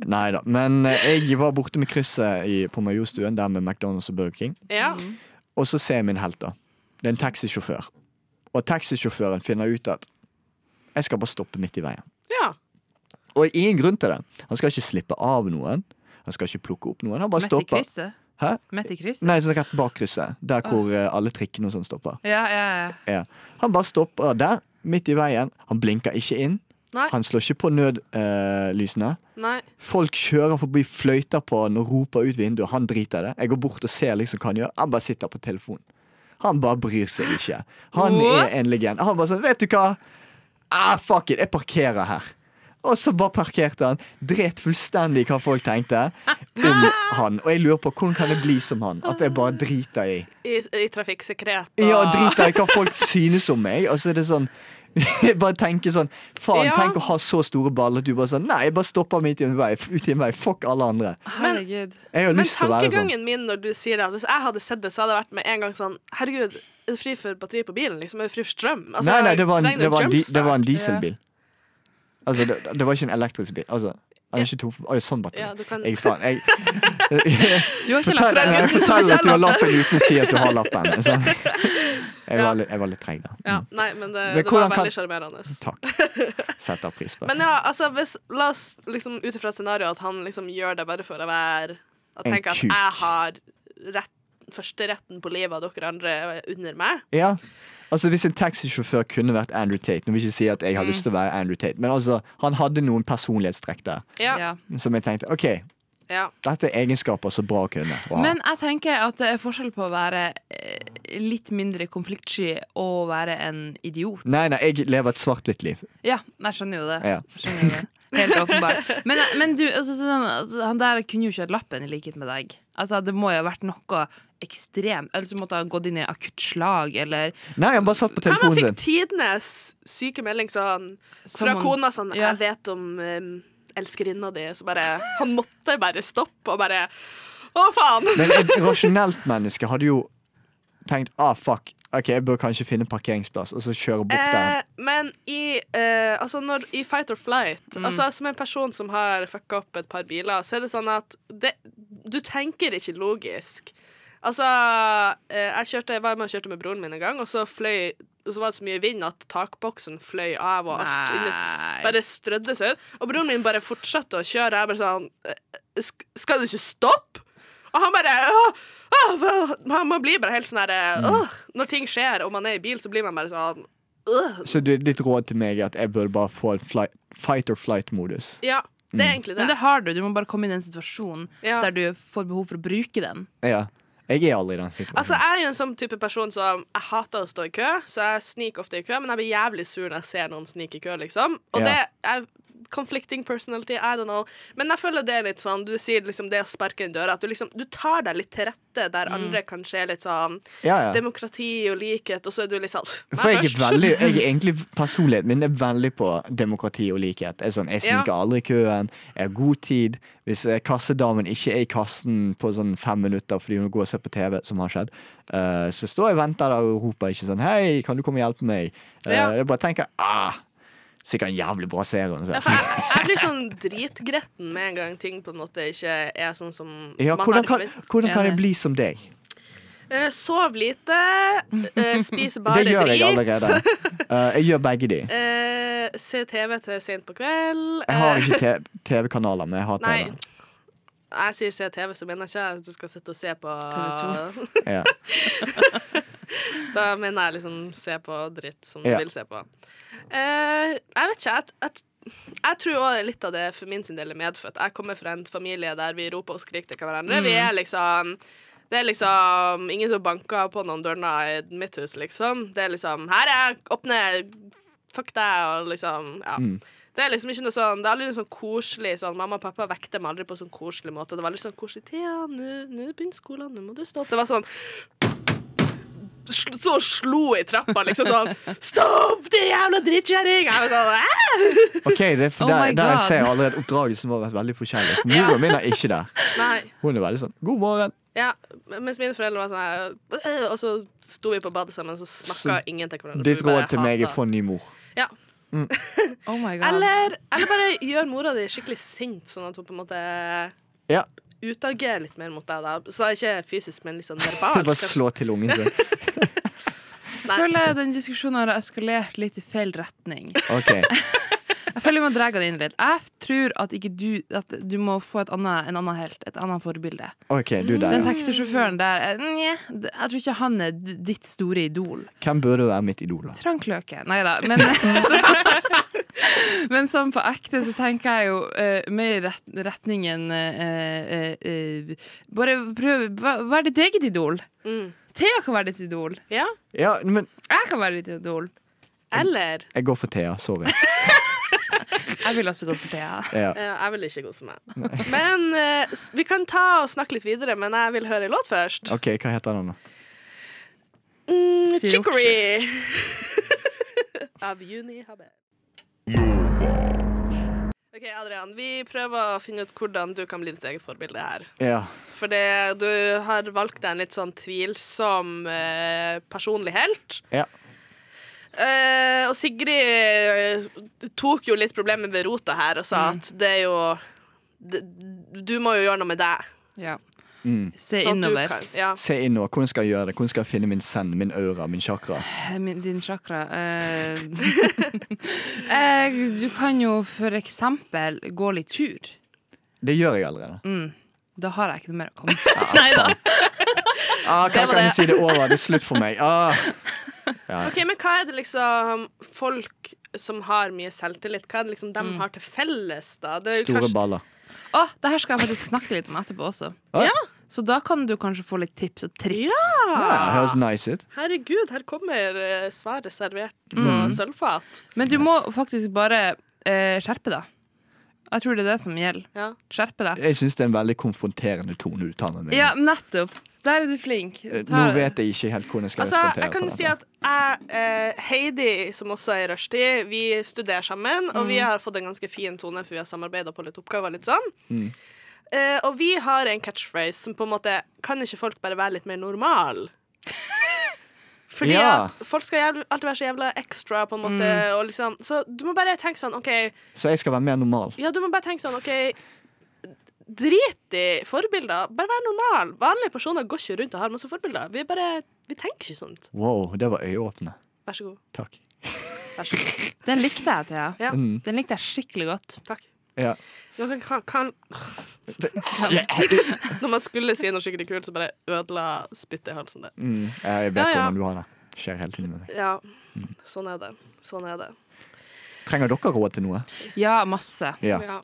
S2: Nei da. Men eh, jeg var borte med krysset i, på Majorstuen, der med McDonald's og Burger King.
S4: ja.
S2: Og så ser jeg min helt, da. Det er en taxisjåfør. Og taxisjåføren finner ut at jeg skal bare stoppe midt i veien.
S4: ja.
S2: Og ingen grunn til det. Han skal ikke slippe av noen. Han skal ikke plukke opp noen. Han bare
S7: Mette i
S2: stopper.
S7: krysset.
S2: Hæ?
S7: Mette i krysset.
S2: Nei, så rett bak krysset. Der hvor eh, alle trikkene og sånn stopper.
S7: Ja, ja, ja.
S2: Ja. Han bare stopper der, midt i veien. Han blinker ikke inn.
S4: Nei.
S2: Han slår ikke på nødlysene.
S4: Nei.
S2: Folk kjører forbi, fløyter på han og roper ut vinduet. Han driter i det. Jeg går bort og ser liksom hva han gjør. Han bare sitter på telefonen. Han bare bryr seg ikke. Han
S7: What?
S2: er en legende. Han bare sånn, vet du hva? Ah, fuck it, jeg parkerer her. Og så bare parkerte han. Dret fullstendig hva folk tenkte om han. Og jeg lurer på hvordan kan jeg bli som han? At jeg bare driter i
S4: I, i trafikksikkerhet og
S2: Ja, driter i hva folk synes om meg. Og så er det sånn jeg bare tenker sånn Faen,
S4: Ja.
S2: tenk å ha så store baller at du bare sånn Nei, jeg bare stopper midt i en vei. Ut i en vei. Fuck alle andre.
S7: Herregud.
S2: Jeg har
S4: Men
S2: lyst til å være sånn.
S4: tankegangen min når du sier det at Hvis jeg hadde sett det, så hadde det vært med en gang sånn Herregud, er du fri for batteri på bilen? Liksom, er du fri for strøm? Altså,
S2: sånn. Nei, nei, det var en,
S4: trenger du
S2: det var en, di-
S4: jumpstart?
S2: det var en dieselbil. Altså, det, det var ikke en elektrisk bil. Altså, han er ikke tom for Oi, sånn batteri.
S4: Ja, du kan-
S2: Jeg, faen, jeg,
S7: Du har ikke lagt
S2: fortell,
S7: fra
S2: jeg
S7: deg
S2: forteller at du har lappen uten å si at du har lappen. Så. Jeg
S4: Ja.
S2: var litt, jeg var litt treg der.
S4: ja,
S2: Mm,
S4: Nei, men det,
S2: Men
S4: det var
S2: hvordan kan-
S4: veldig sjarmerende.
S2: Takk. Setter pris på det.
S4: Men ja, altså, hvis, la oss liksom ut ifra scenarioet at han liksom gjør det bare for å være At
S2: En
S4: tenke at
S2: kuk.
S4: jeg har rett, førsteretten på livet av dere andre under meg.
S2: Ja. Altså Hvis en taxisjåfør kunne vært Andrew Tate Nå vil jeg ikke si at
S4: Mm.
S2: jeg har lyst til å være Andrew Tate, men altså, han hadde noen personlighetstrekk der
S4: Ja. ja.
S7: Ja.
S2: som jeg tenkte OK, dette er egenskaper så bra å kunne. å ha.
S7: Men jeg tenker at det er forskjell på å være eh, litt mindre konfliktsky og å være en idiot.
S2: Nei, nei, jeg lever et svart-hvitt liv.
S7: Ja, jeg skjønner jo det.
S2: Ja.
S7: Skjønner jo det.
S3: Helt åpenbart. Men, men du, altså, sånn, altså, han der kunne jo ikke hatt lappen i likhet med deg. Altså, Det må jo ha vært noe ekstremt. Eller så måtte han ha gått inn i akutt slag, eller
S2: Nei, han bare satt på
S4: Hva om han
S2: telefonen
S4: fikk
S2: sin.
S4: tidenes syke melding sånn fra
S3: Som han-
S4: kona sånn
S3: Ja.
S4: 'Jeg vet om um, elskerinna di', så bare Han måtte bare stoppe og bare Å, faen!
S2: Men et rasjonelt menneske hadde jo tenkt ah, fuck, ok, jeg bør kanskje finne en parkeringsplass, og så kjøre bort der.
S4: Eh, men i, eh, altså når, i fight or flight
S3: Mm.
S4: altså Som en person som har fucka opp et par biler, så er det sånn at det, du tenker ikke logisk. Altså, eh, jeg kjørte, var med og kjørte med broren min en gang, og så fløy og så var det så mye vind at takboksen fløy av, og alt inni
S7: Nei.
S4: bare strødde seg ut. Og broren min bare fortsatte å kjøre. Jeg bare sånn eh, sk- Skal du ikke stoppe? Og han bare åh, åh, hva- Man man blir bare helt sånn her åh, Når ting skjer, og man er i bil, så blir man bare sånn åh.
S2: Så du, ditt råd til meg er at jeg bør bare få en fly, fight or flight-modus.
S4: Ja, det er egentlig det.
S3: Men det har du. Du må bare komme inn i en situasjon
S4: Ja.
S3: der du får behov for å bruke den.
S2: Ja. Jeg er aldri i den situasjonen.
S4: Altså, Jeg er jo en sånn type person som Jeg hater å stå i kø, så jeg sniker ofte i kø, men jeg blir jævlig sur når jeg ser noen snike i kø, liksom. Og
S2: Ja.
S4: det er conflicting personality, I don't know. Men jeg føler det er litt sånn Du sier liksom det å sparke inn døra, at du liksom Du tar deg litt til rette der andre kanskje er litt
S2: Mm.
S4: sånn
S2: ja, ja.
S4: demokrati og likhet, og så er du litt sånn «Meg
S2: For jeg er
S4: først».
S2: veldig, jeg er egentlig personligheten min er veldig på demokrati og likhet. Jeg, er sånn, jeg sniker aldri i køen, jeg har god tid. Hvis eh, kassedamen ikke er i kassen på sånn fem minutter fordi hun går og ser på TV, som har skjedd, eh, så står jeg og venter der og roper ikke sånn 'Hei, kan du komme og hjelpe meg?' Eh,
S4: Ja.
S2: Jeg bare tenker ah, 'Sikkert en jævlig bra serie'. hun ser.»
S4: Ja, for jeg, jeg blir sånn dritgretten med en gang ting på en måte ikke er sånn som
S2: Ja,
S4: man
S2: hvordan,
S4: har
S2: kan,
S4: forvent-
S2: hvordan kan jeg bli som deg?
S4: Eh, Sov lite, eh, spis bare
S2: Det
S4: drit.
S2: gjør jeg allerede. Eh, jeg gjør begge de.
S4: Eh, se TV til sent på kveld.
S2: Jeg har
S4: Eh,
S2: ikke te- TV-kanaler, men jeg har
S4: Nei.
S2: TV.
S4: Jeg sier se TV, så mener jeg ikke at du skal sitte og se på
S7: TV
S2: Ja.
S4: Da mener jeg liksom se på dritt som
S2: Ja.
S4: du vil se på. Eh, jeg vet ikke. Jeg, jeg, jeg tror også litt av det for min sin del er medfødt. Jeg kommer fra en familie der vi roper og skriker til hverandre. Vi er liksom det er liksom ingen som banker på noen dører i mitt hus, liksom. Det er liksom Her er jeg! Åpne! Fuck deg! Og liksom Ja. Det er liksom ikke noe sånn Det er aldri noe sånn koselig sånn Mamma og pappa vekte meg aldri på sånn koselig måte. Det var litt sånn koselig Thea, nå nå begynner skolen, nå må du stå opp. Det var sånn sl- så slo i trappa, liksom sånn Stopp, din jævla drittkjerring! Jeg var sånn, «Æ?»
S2: Ok, det er for
S3: Oh
S2: der,
S3: my
S2: der jeg
S3: God.
S2: ser allerede oppdragelsen vår har vært veldig forskjellig. For Moren min er ikke der.
S4: Nei.
S2: Hun er veldig sånn 'god morgen'.
S4: Ja, mens mine foreldre var sånn her, «Øh», Og så sto vi på badet sammen, og så snakka
S2: Så
S4: ingen til hverandre.
S2: Ditt
S4: for vi bare
S2: råd til meg er
S4: hatet.
S2: få en ny mor.
S4: ja.
S3: Oh my God.
S4: eller, eller bare gjør mora di skikkelig sint, sånn at hun på en måte
S2: Ja,
S4: utagerer litt mer mot deg. da Så ikke fysisk, men litt sånn
S2: jeg
S4: verbal.
S2: Bare slå til ungen sin.
S3: Jeg føler den diskusjonen har eskalert litt i feil retning.
S2: Ok,
S3: Jeg føler vi må dra den inn litt. Jeg tror at ikke du At du må få et annet, en annen helt, et annet forbilde.
S2: ok, du der,
S3: Den
S2: ja.
S3: taxisjåføren der eh, nje, d- Jeg tror ikke han er d- ditt store idol.
S2: Hvem burde være mitt idol? da?
S3: Frank Løke. Nei da. Men, men sånn på ekte så tenker jeg jo eh, mer i ret retningen eh, eh, eh, Bare prøv Vær vær ditt eget idol.
S4: Mm.
S3: Thea kan være ditt idol.
S4: Ja.
S2: Ja, men
S3: Jeg kan være ditt idol.
S4: Eller
S2: jeg går for Thea. Sorry.
S3: Jeg ville også gått for Thea.
S2: Ja.
S4: eh, Jeg ville ikke gått for meg. Men eh, s- vi kan ta og snakke litt videre, men jeg vil høre en låt først.
S2: Ok, hva heter den, da?
S4: Mm,
S3: Sier
S4: Chicory. Av Juni Habe. OK, Adrian. Vi prøver å finne ut hvordan du kan bli ditt eget forbilde her.
S2: Ja.
S4: For det, du har valgt deg en litt sånn tvilsom eh, personlig helt.
S2: ja.
S4: Eh, og Sigrid eh, tok jo litt problemet ved rota her og sa at det er jo det, Du må jo gjøre noe med deg.
S3: Ja.
S2: Mm.
S3: Se
S4: sånn at du
S3: innover.
S4: kan- Ja.
S2: Se inn nå. Hvordan skal jeg gjøre det? Hvordan skal jeg finne min send, min aura, min chakra?
S3: Min, din chakra eh, eh, Du kan jo for eksempel gå litt tur.
S2: Det gjør jeg allerede.
S3: Da har jeg ikke noe mer å komme med.
S2: Ah, hva
S4: Det var
S2: kan
S4: det.
S2: jeg si det er over? Det er slutt for meg. Ah.
S4: Ok, men Hva er det liksom folk som har mye selvtillit, hva er det liksom de har til felles? da? Det er jo
S2: Store
S4: kanskje-
S2: baller.
S3: Å, det her skal jeg faktisk snakke litt om etterpå også.
S2: Ja.
S3: Så da kan du kanskje få litt tips og triks.
S2: Ja, høres nice ut.
S4: Herregud, her kommer eh, svaret servert på sølvfat.
S3: Men du må faktisk bare eh, skjerpe deg. Og jeg tror det er det som gjelder.
S4: Ja.
S3: Skjerpe deg.
S2: Jeg syns det er en veldig konfronterende tone du tar med meg.
S3: Ja, nettopp. Der er du flink.
S2: Eh, Nå
S3: Ta-
S2: vet jeg ikke helt hvordan jeg skal
S4: Altså,
S2: respondere
S4: jeg kan
S2: på
S4: jo si
S2: dette.
S4: at jeg, eh, Heidi, som også er i rushtid, vi studerer sammen, og vi har fått en ganske fin tone, for vi har samarbeida på litt oppgaver. litt sånn.
S2: Mm.
S4: Eh, og vi har en catchphrase som på en måte Kan ikke folk bare være litt mer normal? Fordi
S2: Ja.
S4: at folk skal jævlig, alltid være så jævla ekstra, på en måte. Og liksom, så du må bare tenke sånn OK,
S2: Så jeg skal være mer normal.
S4: ja, du må bare tenke sånn OK, drit i forbilder. Bare vær normal. Vanlige personer går ikke rundt og har masse forbilder. Vi bare, vi tenker ikke sånt.
S2: Wow, det var øyeåpne.
S4: Vær så god.
S2: Takk.
S4: Vær så god.
S3: Den likte jeg, Thea.
S4: Ja.
S2: Mm.
S3: Den likte jeg skikkelig godt.
S4: Takk.
S2: Ja.
S4: Dere kan, kan, når man skulle si noe skikkelig kult, så bare ødela spyttet i halsen. Det.
S2: Mm. ja, Jeg vet
S4: Ja, ja.
S2: hvordan du har det. Skjer hele tiden med meg.
S4: Ja,
S3: Mm.
S4: sånn er det. Sånn er det.
S2: Trenger dere råd til noe?
S3: Ja, masse.
S2: Ja.
S4: Ja.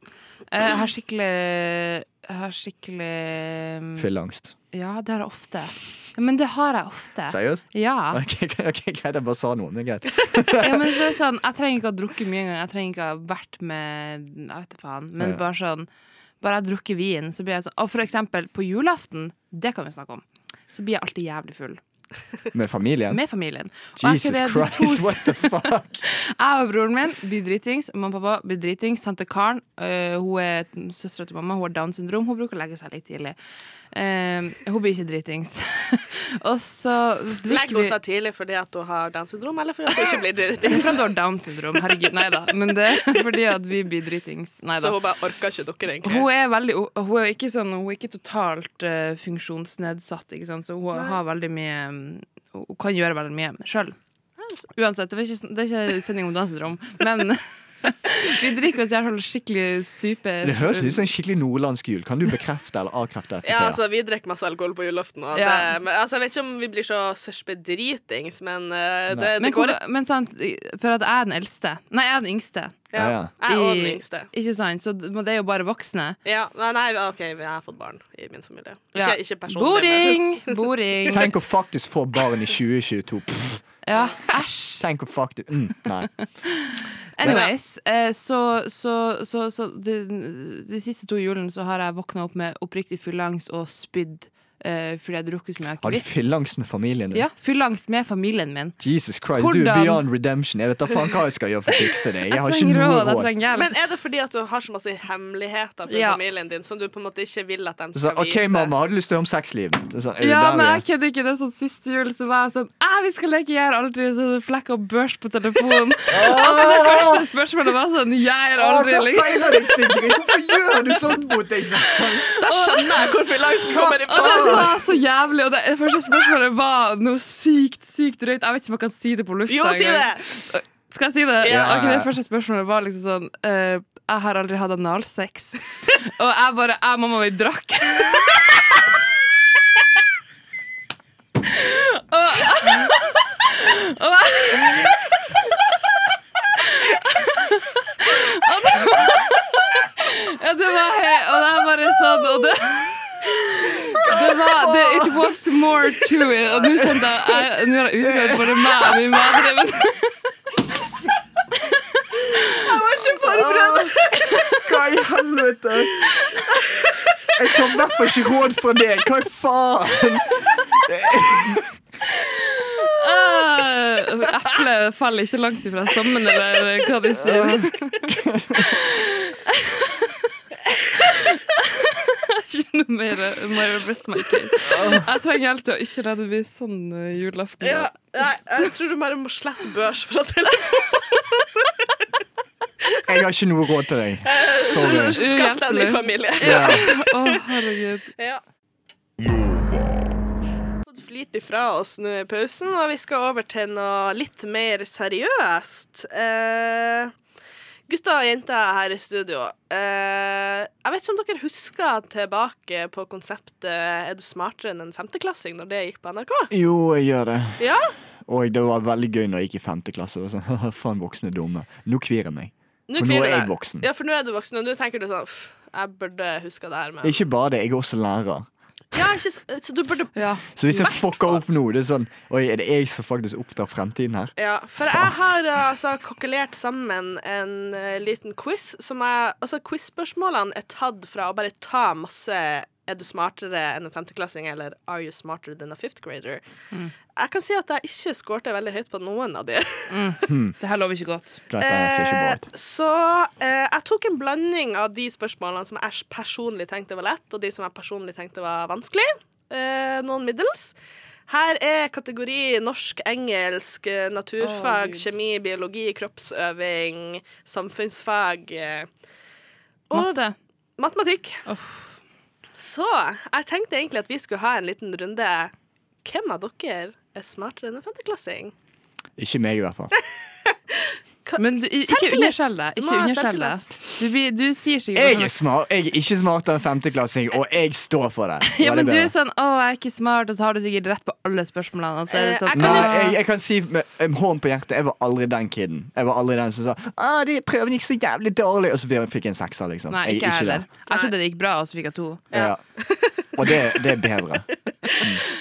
S3: Eh, Jeg har skikkelig Jeg har skikkelig mm,
S2: Fylleangst.
S3: Ja, det har jeg ofte. Ja, Men det har jeg ofte.
S2: Seriøst?
S3: Ja.
S2: Ok, ok, Greit, jeg bare sa noe. Men greit.
S3: ja, men så er det sånn, jeg trenger ikke å ha drukket mye engang. Jeg trenger ikke å ha vært med Jeg vet ikke faen. Men
S2: Ja.
S3: bare sånn Bare jeg drukker vin, så blir jeg sånn Og for eksempel på julaften, det kan vi snakke om, så blir jeg alltid jævlig full.
S2: Med familien?
S3: Med familien. Og jeg
S2: Jesus
S3: er ikke det, de
S2: Christ,
S3: to-
S2: what the fuck?
S3: Jeg og broren min blir dritings. Mamma og pappa blir dritings. Tante Karen, øh, hun er søstera til mamma, hun har Downs syndrom. Hun bruker å legge seg litt tidlig. Eh, hun blir ikke dritings. og så
S4: Legg
S3: drikker vi
S4: henne seg tidlig fordi at hun har Downs syndrom, eller fordi at hun ikke blir
S3: Det er
S4: dritings.
S3: fra du har Downs syndrom. Herregud, nei da. Men det er fordi at vi blir dritings. Nei
S4: Så
S3: da.
S4: hun bare orker ikke dere, egentlig.
S3: Hun er veldig Hun er ikke sånn Hun er ikke totalt eh, funksjonsnedsatt, ikke sant? så hun har veldig mye mm, Hun kan gjøre veldig mye sjøl.
S4: Altså.
S3: Uansett, det, var ikke, sånn- det er ikke sending om dansedrom, men vi drikker oss i hvert fall skikkelig stupe.
S2: Det høres ut som en skikkelig nordlandsk jul. Kan du bekrefte eller avkrefte dette?
S4: Ja,
S2: Thea?
S4: altså, vi drikker masse alkohol på julaften. Og
S3: Ja.
S4: det, men, altså, jeg vet ikke om vi blir så sørspedritings, men eh, det,
S3: Men,
S4: det går
S3: hvor- men sant, for at jeg er den eldste Nei, jeg er den yngste.
S4: ja.
S2: Ja, ja.
S4: Jeg er også
S3: I-
S4: den yngste.
S3: Ikke sant? Så det det er jo bare voksne.
S4: Ja. Nei, nei, OK, jeg har fått barn i min familie. Ikke,
S3: Ja.
S4: ikke personlig, men
S3: Boring! Boring.
S2: Tenk å faktisk få barn i 2022. Pff,
S3: Ja, æsj.
S2: Tenk å faktisk mm, Nei.
S3: Anyways, eh, så, så, så, så de, de siste to julene så har jeg våkna opp med oppriktig fylleangst og spydd eh, fordi jeg har drukket så mye
S2: Har du
S3: akevitt.
S2: fylleangst med familien din?
S3: Ja, fylleangst med familien min.
S2: Jesus Christ, du er
S3: Hvordan?
S2: beyond redemption. Jeg vet da faen hva jeg skal gjøre for å fikse det. Jeg har ikke
S3: trenger
S2: noe
S3: råd, jeg
S2: råd.
S3: trenger hjelp.
S4: Men er det fordi at du har så masse hemmeligheter fra
S3: Ja.
S4: familien din som du på en måte ikke vil at de
S2: Så,
S4: skal
S2: OK,
S4: vite?
S2: mamma, har du lyst til å høre om sexlivet mitt? Det er sånn, er det
S3: ja,
S2: der
S3: men
S2: vi er?
S3: jeg kødder ikke. Det er sånn siste jul så var jeg sånn Æ, vi skal leke Gjær aldri, så det flekk og børs på telefonen. altså, det første spørsmålet var sånn Gjær
S2: Å,
S3: aldri,
S2: Hva
S3: liksom.
S2: feiler deg, Sigrid? Hvorfor gjør du sånn mot deg selv?
S4: Da skjønner jeg hvor fylleangsten kommer
S3: Og
S4: ifra.
S3: det var så jævlig. Og det det første spørsmålet var noe sykt, sykt drøyt. Jeg vet ikke om jeg kan si det på lufta.
S4: Jo, si
S3: engang.
S4: det!
S3: Skal jeg si det?
S2: Ja.
S3: Ok, det første spørsmålet var liksom sånn eh, Jeg har aldri hatt analsex. Og jeg bare Jeg og mamma vi drakk. og, og jeg og det var, ja, det var he- Og det er bare sånn Og det det var det, It was more to it. Og nå kjente jeg jeg- Nå har jeg utgått både meg og min madre. Men
S2: Hva i helvete? Jeg tar i hvert fall ikke råd fra deg. Hva i faen?
S3: Øh, Eplet faller ikke langt ifra stammen, eller hva de sier. Ikke noe mer Myra Brestmaker. Jeg trenger hjelp til å ikke la det bli sånn øh, julaften.
S4: Ja,
S3: da.
S4: jeg, jeg tror du bare må slette børs fra telefonen.
S2: Jeg har ikke noe råd til deg. Sorry.
S4: Så Skaff deg en ny
S3: Uhjelpelig.
S4: familie.
S2: Ja.
S3: Å, herregud.
S4: Ja. Fått flirt ifra oss nå i pausen, og vi skal over til noe litt mer seriøst. Eh, Gutter og jenter her i studio, eh, jeg vet ikke om dere husker tilbake på konseptet 'Er du smartere enn en femteklassing?' når det gikk på NRK?
S2: Jo, jeg gjør det.
S4: Ja?
S2: Og det var veldig gøy når jeg gikk i femte klasse. Det var sånn, Faen, voksne er dumme. Nå kvir jeg meg.
S4: Nå
S2: For nå
S4: kvier
S2: er
S4: det
S2: jeg
S4: deg.
S2: voksen.
S4: Ja, for nå er du voksen, og nå tenker du sånn «Pff, Jeg burde huska det her, men
S2: Ikke bare det, jeg er også lærer.
S4: Ja, ikke, s- så du burde
S3: Ja.
S2: Så hvis jeg fucker opp nå, det er sånn Oi, er det jeg som faktisk opptar fremtiden her?
S4: Ja, for jeg har altså kokkelert sammen en eh, liten quiz som jeg Altså, quiz-spørsmålene er tatt fra å bare ta masse Er du smartere enn en femteklassing, eller Are you smarter than a fifth grader? Jeg kan si at jeg ikke skårte veldig høyt på noen av de.
S3: Det her lover ikke godt.
S2: Dette her ser ikke bra ut.
S4: Eh, Så eh, jeg tok en blanding av de spørsmålene som jeg personlig tenkte var lett, og de som jeg personlig tenkte var vanskelig. Eh, noen middels. Her er kategori norsk, engelsk, eh, naturfag, kjemi, biologi, kroppsøving, samfunnsfag eh, og
S3: Matte.
S4: matematikk.
S3: Uff.
S4: Så jeg tenkte egentlig at vi skulle ha en liten runde. Hvem av dere er smartere enn en femteklassing?
S3: Eh.
S2: Ikke meg, i hvert fall.
S3: Men du, i- ikke
S4: Selvtillit.
S3: underskjell deg.
S4: Du må
S3: Ikke
S4: ha
S3: underskjell deg. Du, blir- du sier sikkert
S2: Jeg er smart, jeg er ikke smartere enn femteklassing, og jeg står for det.
S3: Ja,
S2: Var
S3: men
S2: det
S3: du er
S2: bedre?
S3: sånn 'Å, jeg er ikke smart', og så har du sikkert rett på alle spørsmålene. Altså, er det
S4: Eh,
S3: sånn,
S4: jeg kan
S2: Nei,
S4: jo
S3: «Åh,
S2: jeg, jeg kan si med med hånden på hjertet, jeg var aldri den kiden. Jeg var aldri den som sa ah, de prøven gikk så jævlig dårlig, og så fikk jeg en sekser, liksom.
S3: Nei,
S2: Jeg er
S3: ikke jeg heller.
S2: der.
S3: Jeg trodde det gikk bra, og så fikk jeg to.
S2: Ja. Og det, det er bedre.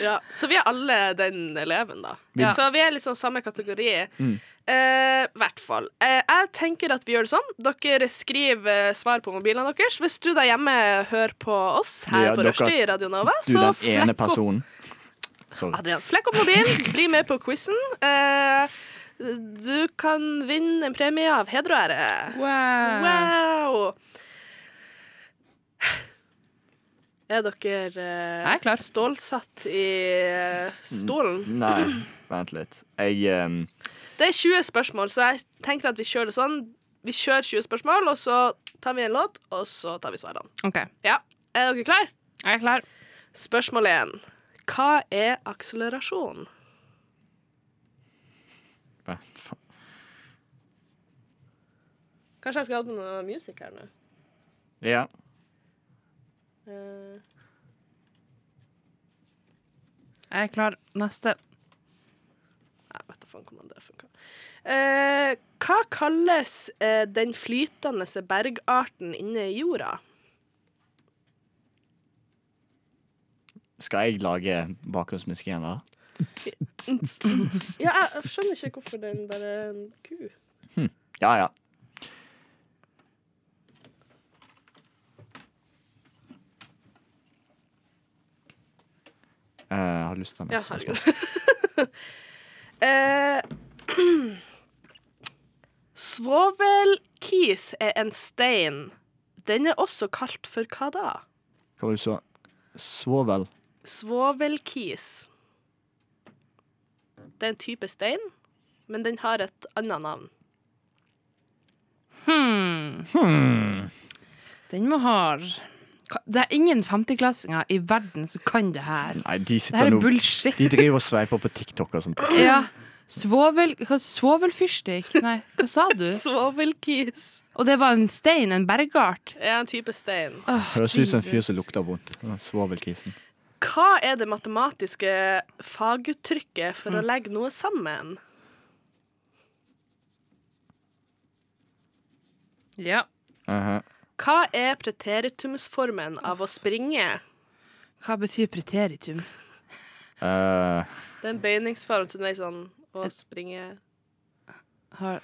S4: Ja, så vi er alle den eleven, da.
S3: Ja.
S4: Så vi er liksom samme kategori.
S2: Mm.
S4: Eh, hvert fall. Eh, jeg tenker at vi gjør det sånn. Dere skriver eh, svar på mobilene deres. Hvis du der hjemme hører på oss her
S2: Ja,
S4: på
S2: dere-
S4: Rushdie i Radio Nova,
S2: Du
S4: så
S2: den ene
S4: flekk opp,
S2: personen. Sorry.
S4: Adrian, flekk opp mobilen, bli med på quizen. Eh, du kan vinne en premie av heder og ære. Wow! Er dere eh,
S3: Jeg er klar. Mm.
S4: stålsatt i eh, stolen?
S2: Nei, vent litt. Jeg ehm,
S4: Det er 20 spørsmål, så jeg tenker at vi kjører det sånn. Vi kjører 20 spørsmål, og så tar vi en låt, og så tar vi svarene.
S3: OK.
S4: Ja, Er dere klar?
S3: Jeg er klar.
S4: Spørsmål 1. Hva er akselerasjon?
S2: hva faen?
S4: Kanskje jeg skal ha på noe musikk her nå.
S2: Ja.
S4: Eh,
S3: Jeg er klar. Neste.
S4: jeg vet da faen hvordan det funker. Eh, hva kalles eh, den flytende bergarten inne i jorda?
S2: Skal jeg lage bakgrunnsmusikk igjen, da?
S4: Ja, jeg skjønner ikke hvorfor den bare er en ku.
S2: Ja, ja. Eh, jeg har lyst til å
S4: Ja,
S2: neste
S4: herregud.
S2: spørsmål.
S4: Eh, Svovelkis er en stein. Den er også kalt for hva da?
S2: Hva var det du sa? Svovel?
S4: Svovelkis. Det er en type stein, men den har et annet navn.
S3: Den må ha Ka- Det er ingen femteklassinger i verden som kan det her.
S2: Nei, de
S3: Det her
S2: sitter
S3: er
S2: nå
S3: bullshit.
S2: De driver og sveiper på TikTok og sånt.
S3: Ja. Svovel... hva- Svovelfyrstikk? Nei, hva sa du?
S4: Svovelkis
S3: Og det var en stein, en bergart.
S4: er en type stein.
S2: Høres ut som en fyr som lukter vondt. Svovelkisen.
S4: Hva er det matematiske faguttrykket for å legge noe sammen?
S3: Ja.
S2: Uh
S4: Hva er preteritumsformen av å springe?
S3: Hva betyr preteritum?
S2: Eh,
S4: Det er en bøyningsform som er sånn å springe
S3: Har...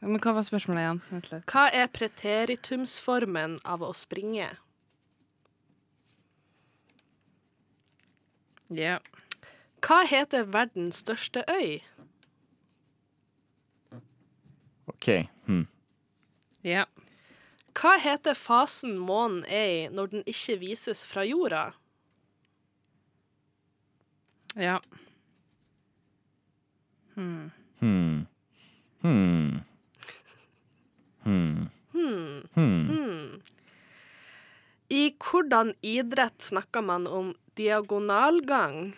S3: Men hva var spørsmålet igjen? Vent litt.
S4: Hva er preteritumsformen av å springe?
S3: Ja.
S4: Hva heter verdens største øy?
S2: OK. Hm.
S3: Ja.
S4: Hva heter fasen månen er i når den ikke vises fra jorda?
S3: Ja.
S2: Hmm. Hmm. Hmm.
S4: I hvordan idrett snakker man om diagonalgang?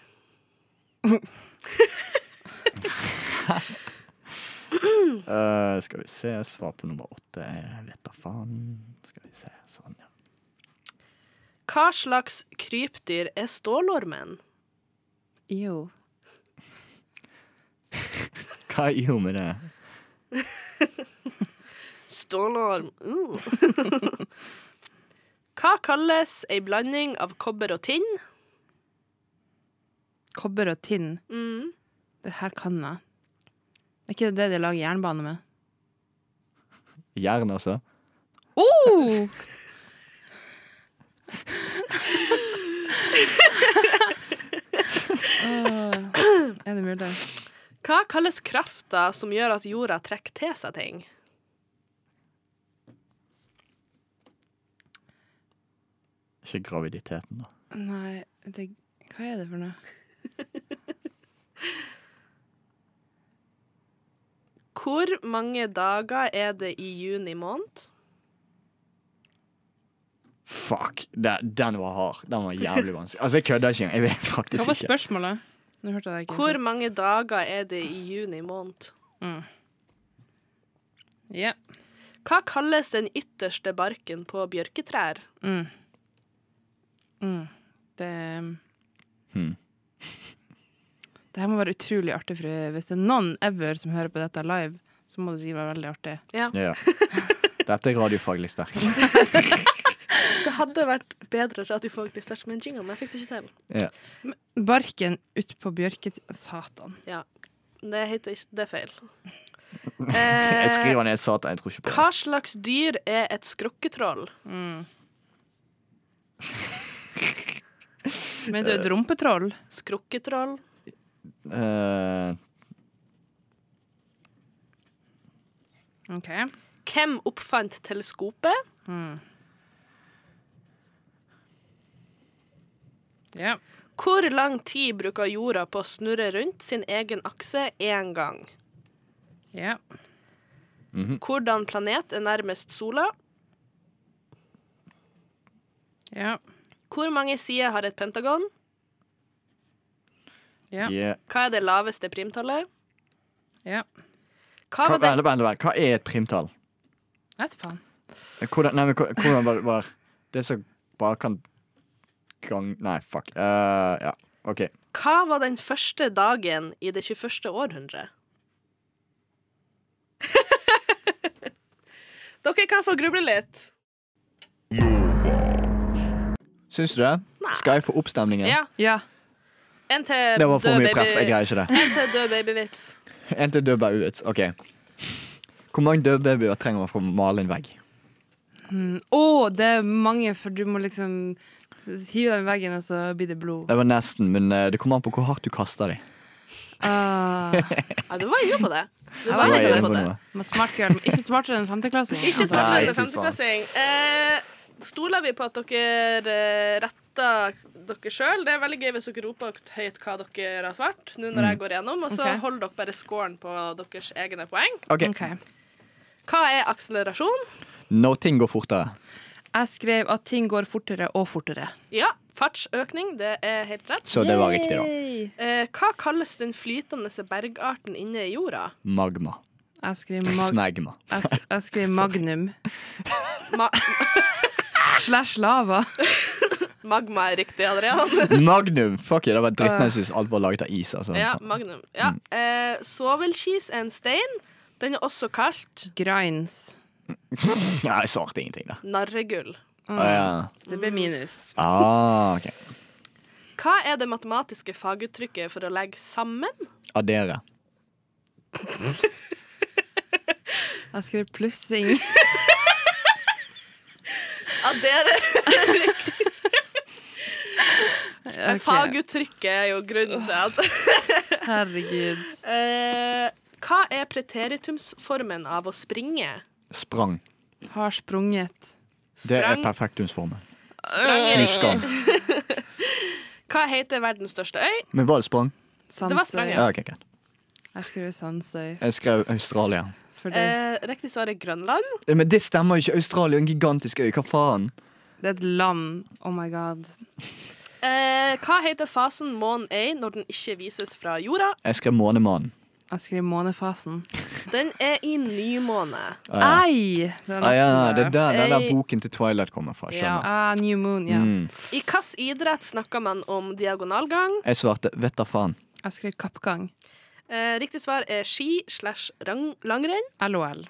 S2: Eh, skal vi se, svar på nummer åtte. Jeg vet da faen. Skal vi se, sånn, ja.
S4: Hva slags krypdyr er stålormen?
S3: Jo.
S2: Hva gjorde med det?
S4: Stålorm. Uh. Hva kalles ei blanding av kobber og tinn?
S3: kobber og tinn.
S4: Mm.
S3: Det her kan jeg. Er ikke det det de lager jernbane med?
S2: Jern, altså.
S3: Oh! er det mulig?
S4: Hva kalles krafta som gjør at jorda trekker til seg ting?
S2: Ikke graviditeten, da.
S3: Nei, det, hva er det for noe?
S4: Hvor mange dager er det i juni måned?
S2: Fuck, det, den var hard. Den var jævlig vanskelig. Altså, jeg kødder ikke engang. Jeg vet
S3: Hva
S2: faktisk
S3: var
S2: ikke.
S3: spørsmålet? Nå hørte jeg det ikke.
S4: Hvor mange dager er det i juni måned?
S3: Ja.
S4: Hva kalles den ytterste barken på bjørketrær?
S3: Mm. Mm. Det
S2: Hmm.
S3: Det her må være utrolig artig, for hvis det er noen ever som hører på dette live, så må det sikkert være veldig artig.
S2: Ja. Dette er radiofaglig sterkt.
S4: Det hadde vært bedre radiofaglig sterkt med en jingle, men jeg fikk det ikke til.
S2: Ja.
S3: Barken utpå bjørket... Satan.
S4: Det, heter ikke, det er feil.
S2: Jeg
S4: Eh,
S2: skriver ned Satan, jeg tror ikke på
S4: hva
S2: det.
S4: slags dyr er et skrukketroll?
S3: Men du er et rumpetroll.
S4: Skrukketroll?
S2: Eh,
S3: Ok.
S4: Hvem oppfant teleskopet?
S3: Ja.
S4: Hvor lang tid bruker jorda på å snurre rundt sin egen akse én gang?
S3: Ja.
S2: Mm.
S4: Hvordan planet er nærmest sola?
S3: Ja.
S4: Hvor mange sider har et pentagon?
S3: Ja.
S2: yeah.
S4: Hva er det laveste primtallet?
S3: Ja.
S4: Hva
S2: hva,
S4: var
S2: vent,
S4: den
S2: vent, vent. hva er et primtall?
S3: Vet faen.
S2: Hvordan, nei, men, hvor- hvordan var, var det som bare kan gang... Nei, fuck. Eh, ja, OK.
S4: Hva var den første dagen i det 21. århundre? Dere kan få gruble litt.
S2: Syns du det? Skal jeg få oppstemningen?
S4: Ja.
S3: Ja.
S4: En til
S2: Det var for
S4: død
S2: mye
S4: baby-
S2: press. Jeg greier ikke det.
S4: En til død babyvits.
S2: En til død babywits. OK. Hvor mange døde babyer trenger man for å male en vegg?
S3: Å, det er mange, for du må liksom hive dem i veggen, og så blir det blod.
S2: Det var nesten, men eh, det kommer an på hvor hardt du kaster dem.
S3: Ah.
S4: Ja, du var inne på det. Du
S3: Jeg
S4: var
S3: var
S4: inne
S3: inne
S4: på det.
S3: Men smart girl. Ikke smartere enn femteklassing.
S4: Ikke
S3: altså.
S2: Nei,
S4: smartere enn
S2: fy faen.
S4: femteklassing. Eh, stoler vi på at dere eh, retter dere sjøl? Det er veldig gøy hvis dere roper høyt hva dere har svart, nå
S2: Mm.
S4: når jeg går gjennom, og så
S3: Ok.
S4: holder dere bare scoren på deres egne poeng.
S2: Ok,
S3: Ok.
S4: Hva er akselerasjon?
S2: Når ting går fortere.
S3: Jeg skrev at ting går fortere og fortere.
S4: Ja, fartsøkning, det er helt rett.
S2: Så det var riktig, da.
S4: Eh, hva kalles den flytende bergarten inne i jorda?
S2: Magma.
S3: Jeg skrev, mag
S2: Smegma.
S3: jeg, s- jeg skrev magnum.
S4: Ma
S3: Slash lava.
S4: magma er riktig, Adrian.
S2: Magnum! Fuck it, det var drittnice hvis alt var laget av is. Altså.
S4: ja, magnum. Ja. Eh, Svovelskis er en stein. Den er også kalt
S3: Grinds.
S2: Nei, jeg svarte ingenting, da.
S4: narregull.
S2: Ah, ja.
S3: Det ble minus.
S2: ah, ok.
S4: Hva er det matematiske faguttrykket for å legge sammen?
S2: Adere.
S3: Jeg skrev plussing.
S4: Addere.
S3: Ok,
S4: Faguttrykket er jo grunnen til at
S3: Herregud.
S4: eh, Hva er preteritumsformen av å springe?
S2: Sprang.
S3: Har sprunget.
S2: Det er
S4: Sprang,
S2: perfektumsformen.
S4: sprang er
S2: Husker
S4: riktig.
S2: han.
S4: Hva heter verdens største øy?
S2: Men var det sprang?
S4: Det var sprang,
S3: Sandsøy.
S2: Ja, ok, greit.
S3: Jeg skrev Sandsøy.
S2: Jeg skrev Australia.
S3: For det,
S4: Eh, riktig svar er Grønland.
S2: Eh, Men det stemmer jo ikke. Australia er en gigantisk øy. Hva faen?
S3: det er et land. Oh my god.
S4: Eh, hva heter fasen månen er i når den ikke vises fra jorda?
S2: Jeg skrev Månemannen.
S3: Jeg skrev månefasen.
S4: Den er i nymåne.
S2: Ah, ja.
S3: Ei! Det var
S2: Ah, ja,
S3: nesten
S2: det er der den der
S4: Jeg-
S2: boken til Twilight kommer fra. Skjønner.
S3: Ah, New Moon, ja.
S2: Mm.
S4: I hvilken idrett snakker man om diagonalgang?
S2: Jeg svarte vet da faen.
S3: Jeg skrev kappgang.
S4: Eh, riktig svar er ski slash rang- langrenn.
S3: LOL.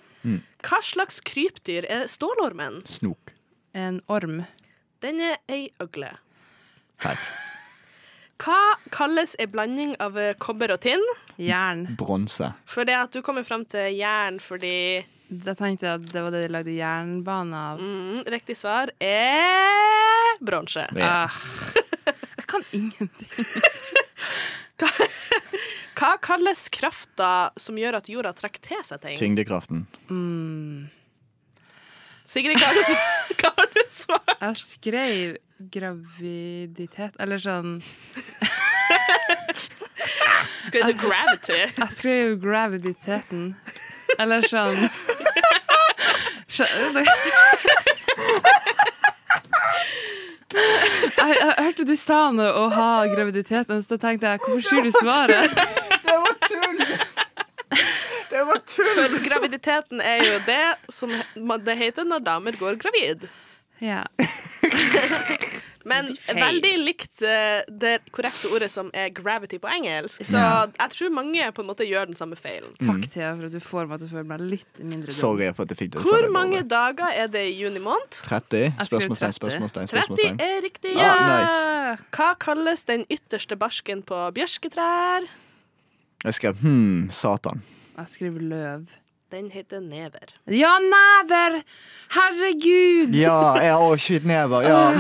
S4: Hva slags krypdyr er stålormen?
S2: Snok.
S3: En orm.
S4: Den er ei øgle.
S2: Teit.
S4: Hva kalles en blanding av eh, kobber og tinn.
S3: Jern.
S2: Bronse.
S4: For det at du kommer fram til jern fordi
S3: Da tenkte jeg at det var det de lagde jernbane av.
S4: mm, Riktig svar er bronse.
S2: Ja.
S3: Ah. Jeg kan ingenting.
S4: Hva kalles krafta som gjør at jorda trekker til seg ting?
S2: Tyngdekraften.
S4: Sigrid, hva har du sv- hva har du svart?
S3: Jeg skrev graviditet Eller sånn
S4: Skrev du gravity?
S3: Jeg skrev graviditeten. Eller sånn Skjø- det- Jeg, jeg hørte du sa noe å ha graviditeten, så da tenkte jeg hvorfor sier du svaret?
S2: Det var tull! Det var tull!
S4: For graviditeten er jo det som he- det heter når damer går gravid.
S3: Ja.
S4: Men veldig likt eh, det korrekte ordet som er gravity på engelsk. Så
S2: Ja.
S4: jeg tror mange på en måte gjør den samme feilen.
S3: Takk, Thea, for at du får meg til å føle meg litt mindre dum.
S2: Mm. Sorry for at jeg fikk det. fra
S4: Hvor
S2: deg,
S4: mange
S2: Barbara.
S4: dager er det i juni måned?
S2: 30?
S3: skrev
S2: Spørsmålstegn,
S3: 30.
S2: spørsmålstegn,
S4: 30
S2: spørsmålstegn.
S4: er riktig.
S2: Ja, nice.
S4: Hva kalles den ytterste barsken på bjørketrær?
S2: Jeg skrev hm, satan.
S3: Jeg skriver løv.
S4: Den heter never.
S3: Ja, never! Herregud!
S2: Ja, jeg har skytt never. Ja.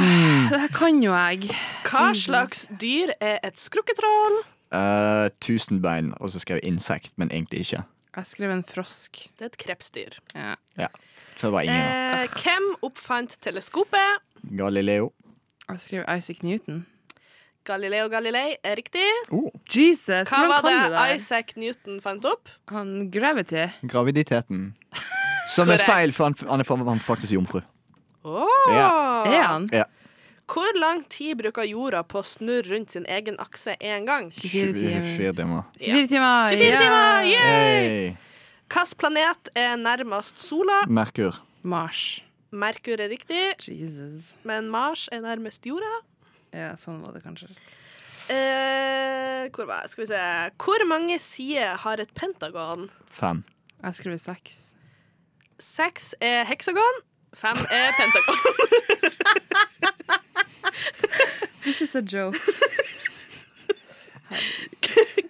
S3: Det her kan jo jeg.
S4: Hva
S3: Jesus.
S4: slags dyr er et skrukketroll?
S2: Eh, tusenbein, og så skrev jeg insekt, men egentlig ikke.
S3: Jeg skrev en frosk.
S4: Det er et krepsdyr.
S3: Ja.
S2: Ja, Så det var ingen. da.
S4: Eh, hvem oppfant teleskopet?
S2: Galileo.
S3: Jeg skrev Isaac Newton.
S4: Galileo Galilei er riktig.
S2: Oh,
S3: Jesus,
S4: Hva
S3: hvordan
S4: var
S3: kan du det?
S4: det Isaac Newton fant opp?
S3: Han Gravity.
S2: graviditeten. Som er
S4: Korrekt.
S2: feil, for han, han er fa- han er faktisk jomfru.
S4: Åh!
S3: Er han?
S2: Ja.
S4: Hvor lang tid bruker jorda på å snurre rundt sin egen akse én gang?
S3: 24 timer.
S2: 24 timer.
S3: 24 timer!
S4: 24 timer!
S3: Ja.
S4: Yeah!
S2: Hey.
S4: Hvilken planet er nærmest sola?
S2: Merkur.
S3: Mars.
S4: Merkur er riktig,
S3: Jesus.
S4: men Mars er nærmest jorda.
S3: Ja, sånn var det kanskje.
S4: Eh, hvor var jeg? Skal vi se Hvor mange sider har et pentagon?
S2: Fem.
S3: Jeg skriver seks.
S4: Seks er heksagon, fem er pentagon.
S3: This is a joke.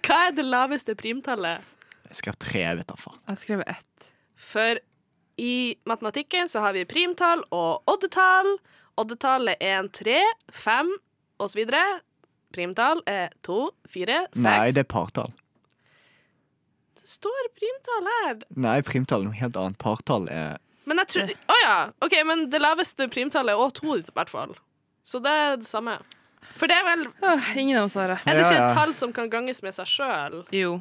S4: Hva er det laveste primtallet?
S2: Jeg skrev tre, jeg vet da faen.
S3: Jeg skrev ett.
S4: For i matematikken så har vi primtall og oddetall. Oddetallet er en tre, fem osv. Primtall er to, fire, seks.
S2: Nei, det er partall.
S4: Det står primtall her.
S2: Nei, primtall er noe helt annet. Partall er
S4: Men jeg tror Å ja. OK, men det laveste primtallet er òg to, i hvert fall. Så det er det samme. For det er vel
S3: Åh, ingen av oss har rett.
S4: Er det
S2: Ja,
S4: ikke
S2: ja.
S4: et tall som kan ganges med seg sjøl?
S3: Jo.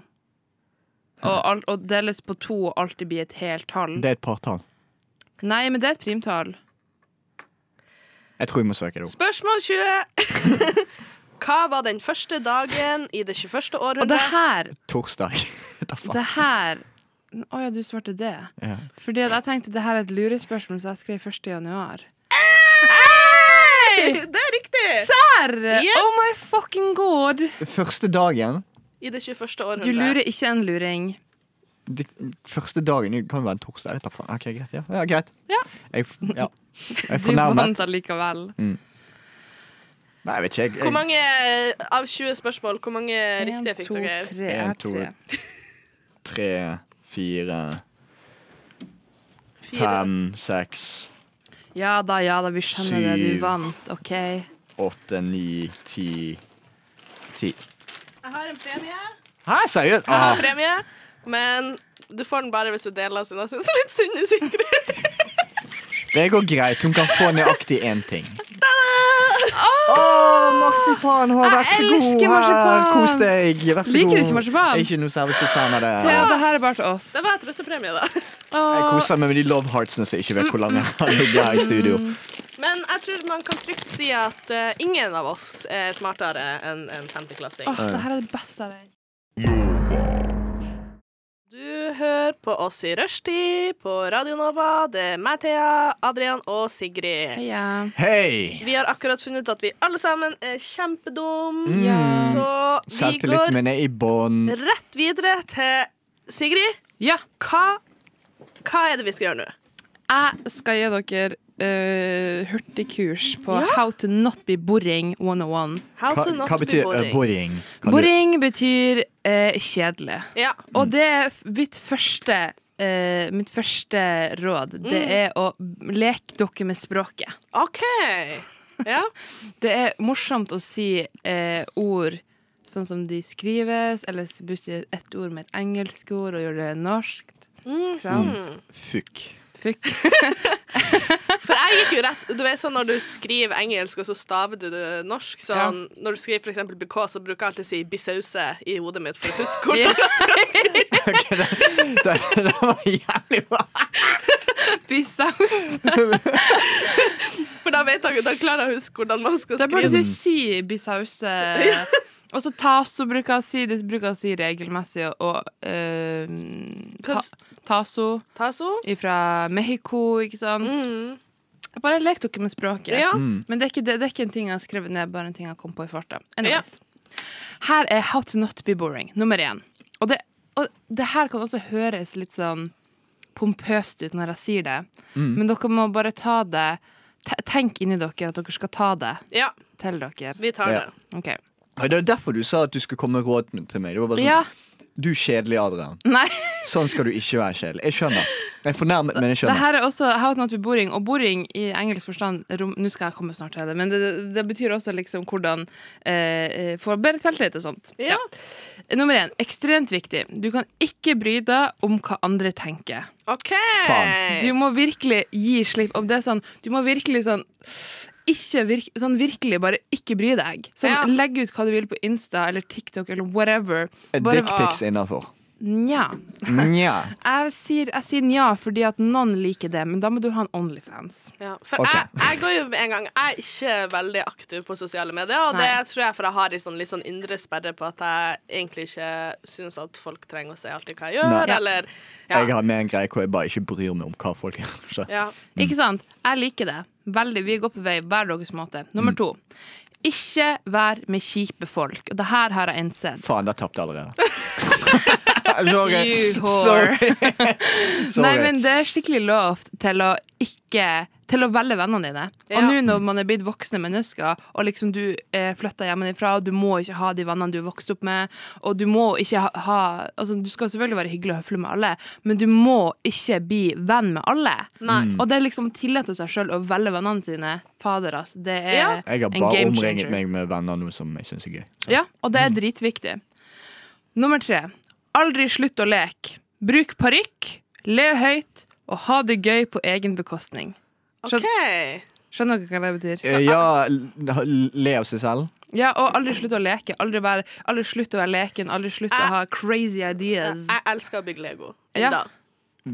S3: Og, alt, og deles på to og alltid blir et helt
S4: Mm.
S3: tall.
S2: Det er et partall.
S3: Nei, men det er et primtall.
S2: Jeg tror jeg må søke det opp.
S4: Spørsmål 20. Hva var den første dagen i det 21.
S3: Og det
S4: århundret?
S3: her
S2: Torsdag. Vet da faen.
S3: Det her Å ja, du svarte det.
S2: Ja.
S3: Fordi at jeg tenkte det her er et lurespørsmål, så jeg skrev 1. januar.
S4: Det er riktig!
S3: Der!
S4: Yep.
S3: Oh my fucking god!
S2: Første dagen
S4: I det 21.
S3: Du
S4: århundret.
S3: lurer ikke en luring.
S2: de, Første dagen det kan jo være en torsdag. Jeg vet da faen. OK, greit. Ja, ja greit.
S4: Ja.
S2: Jeg, f- ja. jeg er
S3: Du vant
S2: fornærmet.
S3: allikevel.
S2: Nei, jeg vet ikke. Jeg,
S4: Hvor
S2: jeg,
S4: mange av 20 spørsmål Hvor mange riktige fikk dere?
S3: tre.
S2: En, to, tre, fire,
S4: Fire.
S2: fem, seks,
S3: Ja da, ja da, vi skjønner det.
S2: Syv.
S3: Du vant, OK?
S2: åtte, ni, ti Ti.
S4: Jeg har en premie.
S2: Hæ, seriøst?
S4: Jeg har
S2: Ah,
S4: en premie, men du får den bare hvis du deler, siden jeg syns litt synd i Sigrid.
S2: det går greit. Hun kan få nøyaktig én ting. Å, marsipan! Å, vær så
S3: Jeg
S2: god.
S3: elsker
S2: Her,
S3: marsipan.
S2: Kos deg. Vær så
S3: Liker du
S2: god.
S3: ikke marsipan?
S2: Jeg er ikke noe særlig stor fan av det.
S3: Thea, det her er bare til oss.
S4: Det var et russepremie, da.
S2: Jeg
S3: Åh,
S2: koser meg med de love heartsene som ikke vet hvor lange
S3: Mm.
S2: har ligget her i studio.
S4: Men jeg tror man kan trygt si at eh, ingen av oss er smartere enn en femteklassing.
S3: åh, det her er det beste jeg vet.
S4: Du hører på oss i rushtid på Radio Nova. Det er meg, Thea, Adrian og Sigrid.
S3: Ja.
S2: Hei!
S4: Vi har akkurat funnet ut at vi alle sammen er kjempedum,
S3: Ja.
S4: så vi
S2: Selvtilliten
S4: går
S2: min er i bånn.
S4: rett videre til Sigrid.
S3: ja.
S4: Hva, hva er det vi skal gjøre nå?
S3: Jeg skal gi dere eh, hurtigkurs på How to not be boring 101.
S4: How
S2: Hva,
S4: to not
S2: hva
S4: be
S2: betyr
S4: boring.
S2: eh, boring? Kan du-
S3: Boring betyr eh, kjedelig.
S4: Ja.
S2: Mm.
S3: Og det er f- mitt første eh, mitt første råd Det er å leke dere med språket.
S4: OK. Ja.
S3: Det er morsomt å si eh, ord sånn som de skrives, eller s- bytte et ord med et engelsk ord og gjøre det norsk. Ikke sant?
S4: mm.
S2: Fuck.
S3: Fuck.
S4: For jeg gikk jo rett Du vet sånn når du skriver engelsk, og så staver du det norsk sånn, Når du skriver for eksempel BK, så bruker jeg alltid å si bisause i hodet mitt for å huske hvordan
S2: Det, det var jævlig bra.
S3: Bisaus.
S4: For da vet jeg, da klarer jeg å huske hvordan man skal
S3: Da burde
S4: skrive.
S3: du si bisause. Og så taso bruker jeg å si. Det bruker jeg å si regelmessig. Og eh, ta,
S4: Kans-
S3: taso
S4: Taso?
S3: fra Mexico, ikke sant.
S4: Mm.
S3: Bare lek dere med språket.
S4: Ja.
S3: Men det er, ikke, det, det er ikke en ting jeg har skrevet ned, bare en ting jeg kom på i farta. Anyways. Her er How to not be boring, nummer én. Og det, og det her kan også høres litt sånn pompøst ut når jeg sier det, men dere må bare ta det te- Tenk inni dere at dere skal ta det
S4: ja,
S3: til dere.
S4: vi tar
S2: Ja.
S4: det.
S3: OK.
S2: Og Det er derfor du sa at du skulle komme med råd til meg. Det var bare sånn,
S3: Ja.
S2: Du er kjedelig, Adrian.
S3: Nei.
S2: Sånn skal du ikke være kjedelig. Jeg skjønner. Jeg er fornærmet, men jeg
S3: Det
S2: skjønner.
S3: her er også how to not be boring, og boring i engelsk forstand rom, Nå skal jeg komme snart til det, men det, det betyr også liksom hvordan eh, eh, få bedre selvtillit og sånt.
S4: Ja.
S3: Nummer én, ekstremt viktig. Du kan ikke bry deg om hva andre tenker.
S4: OK.
S2: Faen.
S3: Du må virkelig gi slipp. Om det er sånn, du må virkelig sånn ikke virk, sånn virkelig bare ikke bry deg. Sånn,
S4: Ja.
S3: Legg ut hva du vil på Insta eller TikTok eller whatever.
S4: Eh,
S3: Bare,
S2: Dickpics innafor.
S3: nja.
S2: Nja.
S3: Jeg sier, jeg sier nja fordi at noen liker det, men da må du ha en Onlyfans.
S4: Ja, for
S2: Ok.
S4: jeg, jeg går jo en gang Jeg er ikke veldig aktiv på sosiale medier, og
S3: Nei.
S4: det tror jeg for jeg har en sånn, litt sånn indre sperre på at jeg egentlig ikke syns at folk trenger å se alltid hva jeg gjør,
S2: Nei.
S4: eller
S2: Jeg
S4: ja.
S2: har med en greie hvor jeg bare ikke bryr meg om hva folk gjør. Så.
S4: ja.
S3: Ikke sant? Jeg liker det. Veldig, Vi går på vei hver deres måte.
S4: Mm.
S3: Nummer to. Ikke vær med kjipe folk. Og det her har jeg innsett.
S2: Faen, der tapte jeg allerede. Sorry.
S3: You whore.
S2: Sorry.
S3: Nei,
S2: Sorry.
S3: men det er skikkelig lov til å ikke til å velge vennene dine.
S4: Ja.
S3: Og nå når man er blitt voksne mennesker, og liksom du eh, flytter hjemmefra, og du må ikke ha de vennene du er vokst opp med, og du må ikke ha, ha Altså, du skal selvfølgelig være hyggelig og høflig med alle, men du må ikke bli venn med alle.
S4: Nei.
S3: Og det er liksom å tillate seg sjøl å velge vennene sine. Fader, altså. Det er
S4: Ja.
S2: Jeg har
S3: en
S2: bare
S3: game
S2: omringet
S3: changer.
S2: meg med venner nå som jeg syns er gøy. Så.
S3: Ja, og det er dritviktig. Nummer tre. Aldri slutt å leke. Bruk parykk, le høyt og ha det gøy på egen bekostning.
S4: OK.
S3: Skjønner dere hva det betyr?
S2: Eh, Ja, l- le av seg selv.
S3: Ja, og aldri slutt å leke. Aldri, være, aldri slutt å være leken. Aldri slutt å ha crazy ideas.
S4: Jeg elsker å bygge Lego
S3: Ja.
S4: enda.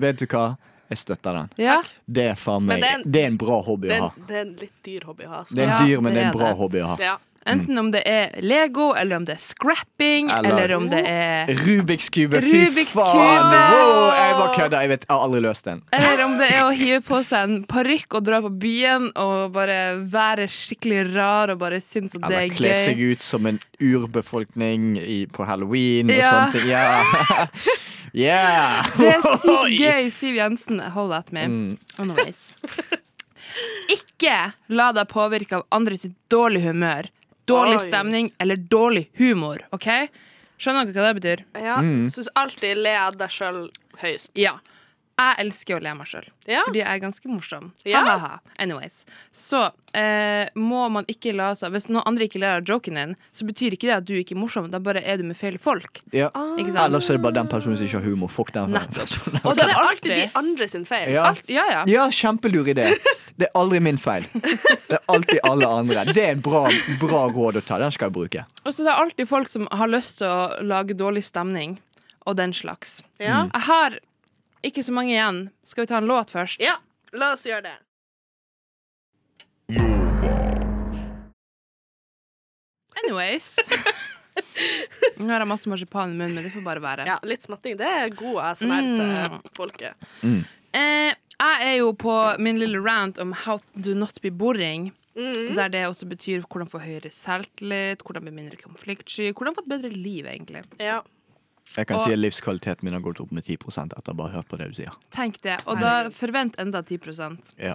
S2: Vet du hva? Jeg støtter den.
S3: Ja,
S2: Det er faen
S4: Men
S2: meg
S4: det er en-
S2: Det er en bra hobby å
S4: Det er,
S2: ha.
S4: det er en litt dyr hobby å ha. så-
S2: Det er
S3: Ja,
S2: en dyr, men
S3: det
S2: det er
S3: er
S2: en bra
S3: det.
S2: hobby å ha.
S4: Ja.
S3: enten om det er Lego, eller om det er scrapping,
S2: Eller-
S3: eller om det er
S2: Rubiks kube, fy
S3: Rubiks
S2: faen!
S3: kube!
S2: Wow, jeg bare kødder. Jeg vet, jeg har aldri løst den.
S3: eller om det er å hive på seg en parykk og dra på byen og bare være skikkelig rar og bare synes at det
S2: Eller
S3: er
S2: kle seg
S3: gøy.
S2: ut som en urbefolkning i, på halloween og
S3: Ja.
S2: sånne ting. Ja. yeah!
S3: Det er sykt gøy, Siv Jensen. Hold at me. Anyways. Ikke la deg påvirke av andre sitt dårlig humør, dårlig
S4: Oi.
S3: stemning eller dårlig humor. OK? Skjønner dere hva det betyr?
S4: Ja.
S2: Mm.
S4: Syns alltid le av deg sjøl høyst.
S3: Ja. Jeg elsker å le meg sjøl,
S4: Ja.
S3: fordi jeg er ganske morsom.
S4: Ah. Ja.
S3: Ha, ha, ha. Anyways. Så eh, må man ikke la seg Hvis noen andre ikke ler av joken din, så betyr ikke det at du ikke er morsom. Da bare er du med feil folk.
S2: Ja.
S3: Ikke sant?
S2: Ellers er det bare den personen som ikke har humor. Fuck den personen.
S3: Ah. Og
S4: Og så er det alltid de
S3: alltid
S4: andre sin feil.
S2: Ja.
S3: alt, Ja, ja.
S2: ja, kjempelur idé. Det er aldri min feil. Det er alltid alle andre. Det er en bra, bra råd å ta. Den skal jeg bruke.
S3: Og så Altså, det er alltid folk som har lyst til å lage dårlig stemning og den slags.
S4: Ja.
S3: Jeg har ikke så mange igjen. Skal vi ta en låt først?
S4: ja. La oss gjøre det.
S3: Anyways. Nå har jeg masse marsipan i munnen, men det får bare være.
S4: Ja, litt smatting. Det er god ASMR til folket.
S3: Eh, jeg er jo på min lille rant om how to not be boring.
S4: Mm.
S3: Der det også betyr hvordan få høyere selvtillit, hvordan bli mindre konfliktsky, hvordan få et bedre liv, egentlig.
S4: Ja.
S2: Jeg kan
S3: Og-
S2: si at livskvaliteten min har gått opp med 10 etter å bare hørt på det du sier.
S3: Tenk det. Og da forvent enda 10
S2: Ja.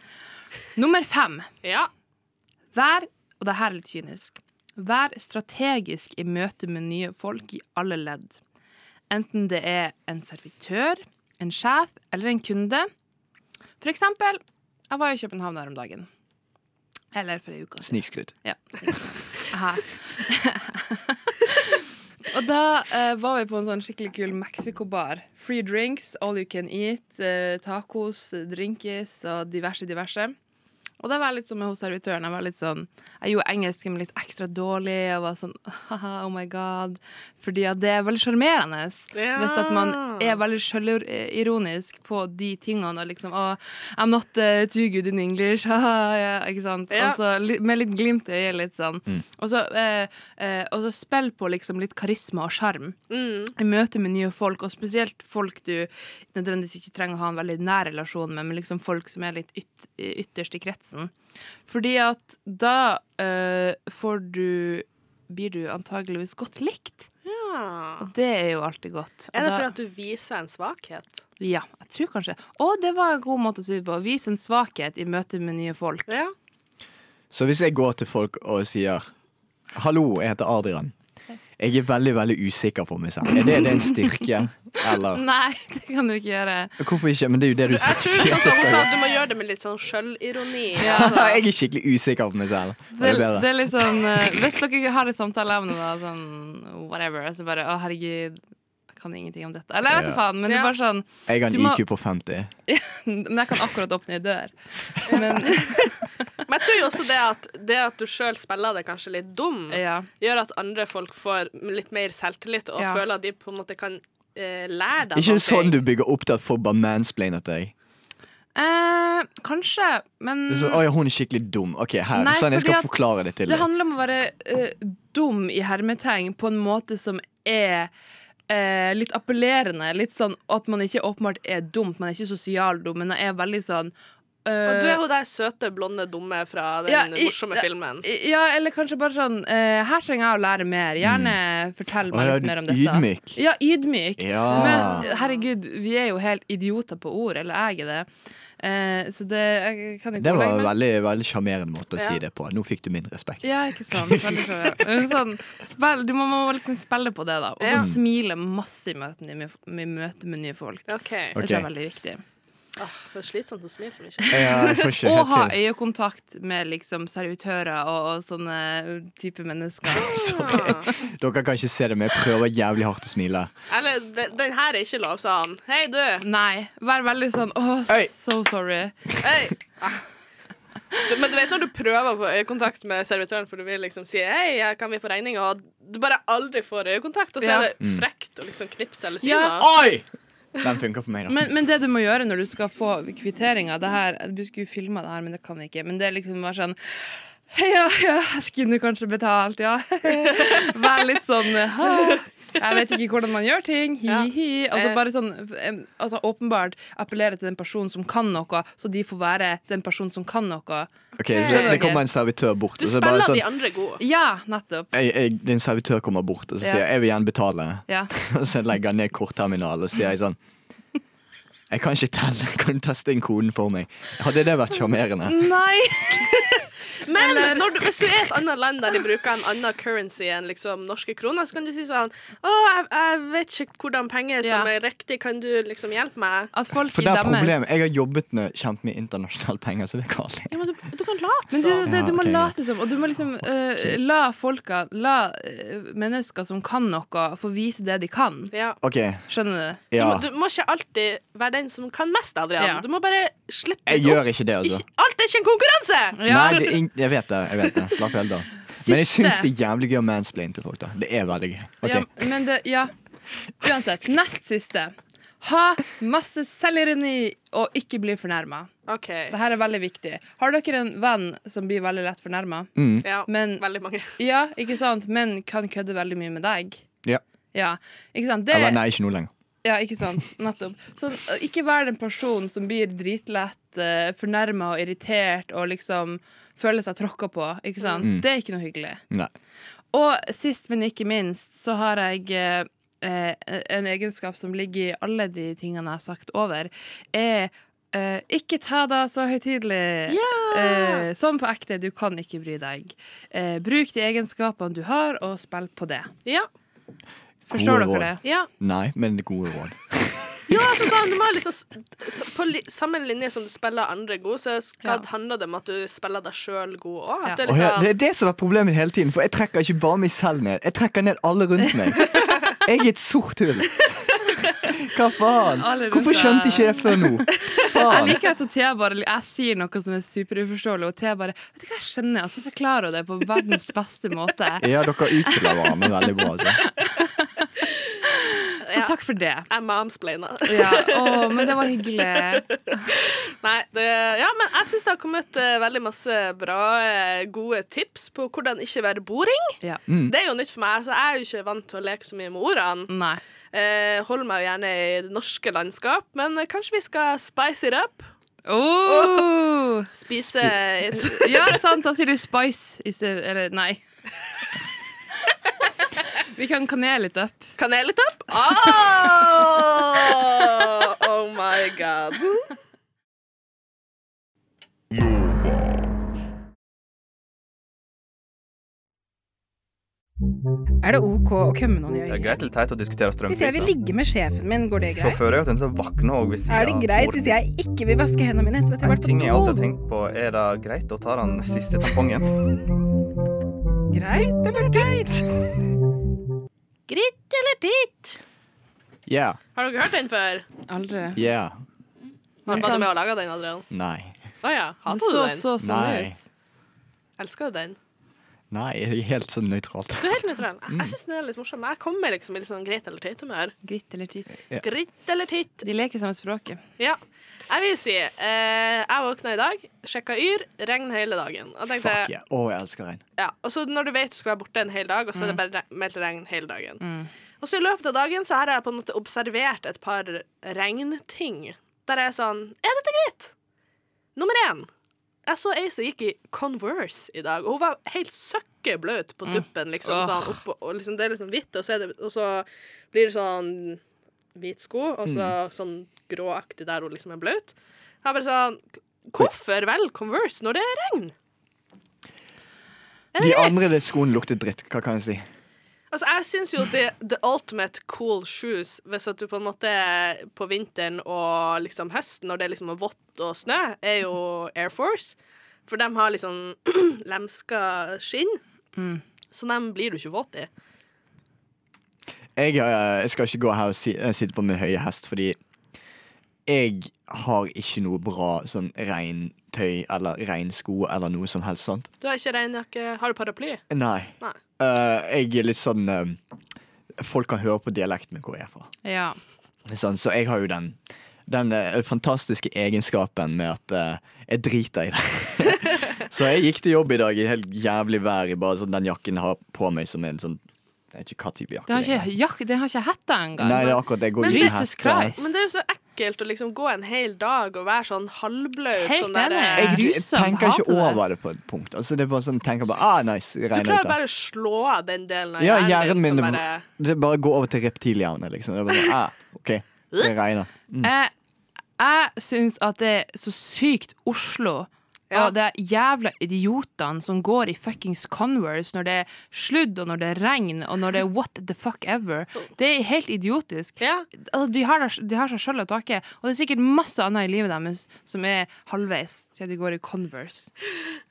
S3: Nummer fem.
S4: Ja.
S3: Vær, og det her er litt kynisk, vær strategisk i møte med nye folk i alle ledd. Enten det er en servitør, en sjef eller en kunde. For eksempel, jeg var i København her om dagen. Eller for ei uke siden.
S2: Snikskryt.
S3: Hæ? og da eh, var vi på en sånn skikkelig kul Mexico-bar. Free drinks, all you can eat, eh, tacos, drinkes og diverse, diverse. Og da var jeg litt som hos servitøren. Jeg var litt sånn, jeg gjorde engelsken min litt ekstra dårlig. Jeg var sånn haha, oh my god. Fordi at det er veldig sjarmerende
S4: Ja.
S3: hvis at man er veldig sjølironisk på de tingene. Og liksom oh, I'm not uh, too good in English. haha, ja, ikke sant?
S4: Ja.
S3: Og så li- med litt glimt i øyet, litt sånn. Og så, eh, eh, og så spill på liksom litt karisma og sjarm
S4: Mm.
S3: i møte med nye folk, og spesielt folk du nødvendigvis ikke trenger å ha en veldig nær relasjon med, men liksom folk som er litt yt ytterst i kretsen. Fordi at da eh, får du blir du antageligvis godt likt.
S4: Ja.
S3: Det er jo alltid godt. Og
S4: Er det
S3: da-
S4: fordi at du viser en svakhet?
S3: Ja, jeg tror kanskje Og det var en god måte å si det på. Vis en svakhet i møte med nye folk.
S4: Ja.
S2: Så hvis jeg går til folk og sier 'hallo, jeg heter Adrian', jeg er veldig veldig usikker på meg selv. Er det, er det en styrke? Eller
S3: Nei, det kan du ikke gjøre.
S2: Hvorfor ikke? Men det er jo det du
S4: Jeg tror sånn
S2: sier.
S4: som hun sa, du må gjøre det med litt sånn sjølironi. altså.
S2: Jeg er skikkelig usikker på meg selv.
S3: Det,
S2: Det er bedre.
S3: det er litt sånn eh, Hvis dere har et samtaleemne, da, sånn whatever, så bare Å, herregud, jeg kan ingenting om dette. Eller jeg
S2: Ja.
S3: vet da faen, men det er
S4: Ja.
S3: bare sånn
S2: Jeg har
S3: Du
S2: en
S3: må-
S2: IQ på 50.
S3: Men jeg kan akkurat åpne ei dør. Men
S4: Men jeg tror jo også det at, det at du sjøl spiller det kanskje litt dum,
S3: ja.
S4: gjør at andre folk får litt mer selvtillit og
S3: Ja.
S4: føler at de på en måte kan eh, lære deg
S2: Ikke
S4: noe.
S2: sånn du bygger opp til at folk bare mansplainer til deg.
S3: Eh, kanskje, men
S2: Det er Sånn, 'Å ja, hun er skikkelig dum'. Ok, her.
S3: Nei,
S2: sånn, jeg skal
S3: fordi at
S2: forklare det til
S3: Det
S2: deg.
S3: handler om å være eh, dum i hermetegn på en måte som er eh, litt appellerende. Litt sånn at man ikke åpenbart er dumt, man er ikke sosial dum, men man er veldig sånn
S4: Og
S3: eh,
S4: du er jo der søte, blonde, dumme fra den
S3: Ja, i-
S4: morsomme
S3: ja,
S4: filmen.
S3: Ja, eller kanskje bare sånn eh, Her trenger jeg å lære mer. Gjerne fortell
S2: Mm. Å,
S3: meg
S2: ja,
S3: litt mer om
S2: du-
S3: dette.
S2: ydmyk.
S3: Ja, ydmyk.
S2: Ja.
S3: Men herregud, vi er jo helt idioter på ord, eller jeg er det. Eh, så det jeg kan ikke
S2: Det var
S3: ordlegge
S2: en
S3: meg.
S2: veldig veldig sjarmerende måte å
S4: Ja.
S2: si det på. Nå fikk du min respekt.
S3: Ja, ikke sant. Veldig sjarmerende. Men Sånn, spill, du må, må liksom spille på det, da. Og
S4: Ja.
S3: så smile masse i møte med, i møte med nye folk.
S4: OK.
S3: Det
S2: Ok.
S3: tror jeg er veldig viktig.
S4: Åh, det er slitsomt å smile så mye.
S2: Ja, jeg får ikke
S3: Og ha
S2: helt til.
S3: øyekontakt med liksom servitører og, og sånne type mennesker.
S4: Ah.
S2: Dere kan ikke se det, men jeg prøver jævlig hardt å smile.
S4: Eller den, den her er ikke lov, sa han. Hei, du.
S3: Nei. Vær veldig sånn Åh,
S2: Hei.
S3: so sorry.
S4: Hei. Ah. Du, men du vet når du prøver å få øyekontakt med servitøren, for du vil liksom si 'hei, her kan vi få regninga', og du bare aldri får øyekontakt, og så
S3: Ja.
S4: er
S2: Mm.
S4: det frekt å liksom knipse eller si
S3: Ja.
S4: noe.
S2: Oi! Den funker for meg, da.
S3: Men, men det du må gjøre når du skal få kvitteringa det her, Vi skulle jo filma det her, men det kan vi ikke. Men det er liksom bare sånn Ja, ja, jeg skulle kanskje betalt, ja. Vær litt sånn «Hæ? Jeg vet ikke hvordan man gjør ting. Hi-hi. Altså bare sånn eh, altså, Åpenbart appellere til den personen som kan noe, så de får være den personen som kan noe.
S2: Ok, så
S3: Ok.
S2: Det kommer en servitør bort.
S4: Du
S2: Og så bare
S4: spiller
S2: sånn,
S4: de andre gode.
S3: Ja, nettopp.
S2: jeg, jeg, din servitør kommer bort og så
S3: Ja.
S2: sier jeg, jeg vil gjerne betale.
S3: Ja.
S2: Og så legger han ned kortterminalen og sier jeg sånn Jeg kan ikke telle, kan du teste inn koden for meg? Hadde det vært sjarmerende?
S3: Nei!
S4: Men når du, hvis du er i et annet land der de bruker en annen currency enn liksom norske kroner, så kan du si sånn 'Å, jeg, jeg vet ikke hvordan penger som
S3: Ja.
S4: er riktig, kan du liksom hjelpe meg?'
S3: At folk
S2: For det er
S3: idømmes.
S2: problemet. Jeg har jobbet med kjempemye internasjonale penger, så det er galt.
S4: Ja, men du, du kan late
S3: Men
S4: som.
S3: det, det, du må
S2: Ja, ok,
S3: late som, og du må liksom eh, la folka, la eh, mennesker som kan noe, få vise det de kan.
S4: Ja.
S2: OK,
S3: Skjønner du?
S4: Du,
S2: ja.
S4: må, du må ikke alltid være den som kan mest, Adrian.
S3: Ja.
S4: Du må bare slippe
S2: Jeg
S4: litt opp.
S2: gjør ikke det, altså.
S4: Ikke, alt er ikke en konkurranse!
S3: Ja.
S2: Nei, det er ing jeg vet det. jeg vet det Slapp helt av. Men jeg syns det er jævlig gøy å mansplaine til folk. da Det er veldig gøy. Ok.
S3: Ja, men det, ja. Uansett, nest siste. Ha masse selvironi og ikke bli fornærma.
S4: OK.
S3: Dette er veldig viktig. Har dere en venn som blir veldig lett fornærma?
S4: Ja,
S3: Men-
S4: veldig mange.
S3: Ja, ikke sant? Men kan kødde veldig mye med deg?
S2: Ja.
S3: Ja, ikke sant? Det,
S2: Eller nei, ikke nå lenger.
S3: Ja, ikke sant. Nettopp. Sånn, å ikke vær den personen som blir dritlett uh, fornærma og irritert og liksom føler seg tråkka på.
S2: Mm.
S3: Ikke sant? Det er ikke noe hyggelig.
S2: Nei.
S3: Og sist, men ikke minst, så har jeg eh, eh, en egenskap som ligger i alle de tingene jeg har sagt over, er eh, ikke ta deg så høytidelig. Eh, sånn på ekte, du kan ikke bry deg. Eh, bruk de egenskapene du har, og spill på det.
S4: Ja.
S3: Forstår
S2: Gode råd.
S3: dere det?
S4: ja.
S2: Nei, men gode råd.
S4: Ja, altså sånn, du må ha liksom s- s- På li samme linje som du spiller andre god, så skal,
S3: Ja.
S4: handler det om at du spiller deg sjøl god òg.
S3: Ja.
S4: At du
S2: Åh, ja,
S4: liksom
S2: det er det som er problemet hele tiden, for jeg trekker ikke bare meg selv ned. Jeg trekker ned alle rundt meg. Jeg er et sort hull. Hva faen?
S3: Alle rundt
S2: Hvorfor skjønte
S3: deg.
S2: ikke jeg før nå?
S3: Jeg
S2: Faen.
S3: liker at Thea bare Jeg sier noe som er superuforståelig, og Thea bare Vet du hva, jeg skjønner, og så forklarer hun det på verdens beste måte.
S2: Ja, dere utfyller hverandre veldig bra. Altså.
S3: Så takk for det.
S4: Jeg momsplainer.
S3: Ja, å, men det var hyggelig.
S4: Nei, det, ja, men jeg syns det har kommet eh, veldig masse bra, eh, gode tips på hvordan ikke være boring.
S3: Ja.
S2: Mm.
S4: Det er jo nytt for meg, så jeg er jo ikke vant til å leke så mye med ordene.
S3: Nei.
S4: Eh, holder meg jo gjerne i det norske landskap, men eh, kanskje vi skal spice it up?
S3: Oh!
S4: Spise
S3: Ja, det er sant. Da sier du spice i sted- Eller nei. Vi kan kanel litt opp.
S4: kanel it up? Oh! oh my god.
S8: Er det OK å kømme noen i
S9: Det er
S8: øyet?
S9: greit eller teit å diskutere
S8: Hvis jeg
S9: strømpriser.
S8: vil ligge med sjefen min, går det greit?
S9: Sjåfører er jo tenkt å våkne òg hvis
S8: Er det greit hvis jeg ikke vil vaske hendene mine etter at jeg
S9: En
S8: har vært
S9: ting jeg
S8: på
S9: alltid har
S8: do?
S9: tenkt på, er det greit å ta den siste tampongen?
S8: Greit eller teit?
S10: Gritt eller titt?
S2: Yeah,
S4: Har dere hørt den før?
S3: Aldri.
S2: yeah,
S4: Var du med og laga den, Adrian?
S2: nei.
S4: Å ja.
S3: Det
S4: Hater du
S3: så
S4: den?
S3: så sånn
S2: Nei.
S3: ut.
S4: Elsker du den?
S2: Nei, jeg er helt sånn nøytralt.
S4: Du er helt nøytral. Jeg syns den er litt morsom. Jeg kommer liksom i litt sånn greit eller teit-humør.
S3: Gritt eller titt.
S4: Gritt eller titt.
S3: De leker samme språket.
S4: Ja. Jeg vil si eh, Jeg våkna i dag, sjekka Yr, regn hele dagen. Og, tenkte,
S2: Fuck yeah. Å, jeg elsker regn.
S4: ja. og så når du vet du skal være borte en hel dag, og så er det bare re- meldt regn hele dagen. Og så i løpet av dagen så har jeg på en måte observert et par regnting. Der er jeg sånn Er dette greit? Nummer én. Jeg så ei som gikk i Converse i dag, og hun var helt søkkebløt på tuppen. Liksom, sånn, opp, og liksom, det er liksom hvitt, og så, er det, og så blir det sånn hvit sko, og så sånn gråaktig der hun liksom er bløt. Jeg bare sånn Hvorfor vel Converse når det er regn?
S2: De andre skoene lukter dritt. Hva kan jeg si?
S4: Altså, Jeg syns jo det the ultimate cool shoes Hvis at du på en måte på vinteren og liksom høsten, når det liksom er vått og snø, er jo Air Force. For de har liksom lemska skinn.
S3: Mm.
S4: Så dem blir du ikke våt i.
S2: jeg, eh, jeg skal ikke gå her og si, eh, sitte på min høye hest, fordi jeg har ikke noe bra sånn regntøy eller regnsko eller noe som helst sånt.
S4: Du har ikke regnjakke. Har du paraply?
S2: Nei.
S4: Nei.
S2: Eh, jeg er litt sånn eh, Folk kan høre på dialekten min hvor jeg er fra.
S3: Ja.
S2: Sånn, så jeg har jo den, den eh, fantastiske egenskapen med at eh, jeg driter i det. så jeg gikk til jobb i dag i helt jævlig vær i bare sånn den jakken jeg har på meg som en sånn Jeg vet ikke hva type jakke
S3: Den har ikke, jakk- den har ikke hetta engang.
S2: Nei, det er akkurat det. Jeg går
S3: Men
S2: uten
S3: Jesus
S2: hette.
S3: Christ.
S4: Men det er jo så ekkelt å liksom gå en hel dag og være sånn halvblaut.
S3: Helt
S4: sånn der,
S3: enig.
S4: eh,
S2: Jeg
S3: grusomt.
S2: tenker
S3: Hater
S2: ikke
S3: det.
S2: over det på et punkt. Altså, det er bare sånn, tenker bare, ah, nice,
S4: Du
S2: regner
S4: klarer
S2: ut det.
S4: bare å slå av den delen av
S2: Ja,
S4: hjernen
S2: hjernen min
S4: din
S2: det
S4: som bare
S2: bare, det bare går over til reptilhjerne, liksom. Det er bare sånn, ah, ok, det regner.
S3: Jeg, Eh, jeg syns at det er så sykt Oslo.
S4: Ja.
S3: Og det er jævla idiotene som går i fuckings Converse når det er sludd og når det er regn og når det er what the fuck ever. Det er helt idiotisk.
S4: Ja.
S3: Altså, de, har, det- de har seg sjøl å takke, og det er sikkert masse annet i livet deres som er halvveis, siden de går i Converse.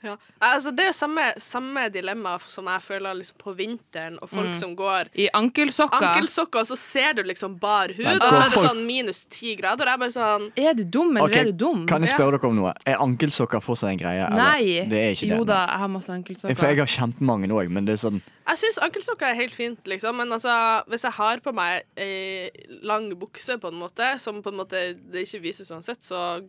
S4: Ja. Altså, det er jo samme, samme dilemma som jeg føler liksom, på vinteren, og
S2: Mm.
S4: folk som går
S3: I ankelsokker.
S4: ankelsokker, og så ser du liksom bar hud,
S2: Men
S4: og så
S2: går
S4: er det
S2: folk-
S4: sånn minus ti grader. Jeg er bare sånn
S3: Er du dum, eller
S2: Ok,
S3: er du dum?
S2: Kan jeg spørre dere om noe? Er ankelsokker fortsatt en greie? eller?
S3: Nei.
S2: Det er ikke
S3: jo
S2: det.
S3: da, jeg har masse
S2: nei.
S3: ankelsokker.
S2: For jeg har kjempemange òg, men det er sånn
S4: Jeg syns ankelsokker er helt fint, liksom, men altså, hvis jeg har på meg ei lang bukse, på en måte, som på en måte det ikke vises uansett, så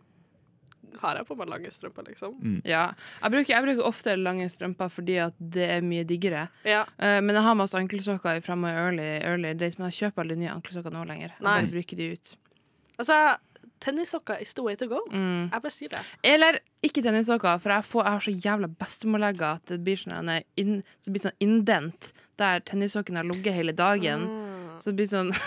S4: har jeg på meg lange strømper, liksom.
S2: Mm.
S3: Ja. Jeg, bruker, jeg bruker ofte lange strømper fordi at det er mye diggere.
S4: Ja.
S3: Eh, men jeg har masse ankelsokker fra my early, early days, men jeg kjøper aldri nye ankelsokker nå lenger. Jeg
S4: Nei.
S3: bare bruker de ut.
S4: Altså, tennissokker is the way to go.
S2: Mm.
S4: Jeg bare sier det.
S3: Eller ikke tennissokker, for jeg, får, jeg har så jævla bestemorlegger eh, at det blir sånn, en inn, det blir sånn indent der tennissokken har ligget hele dagen.
S4: Ah.
S3: Så det blir sånn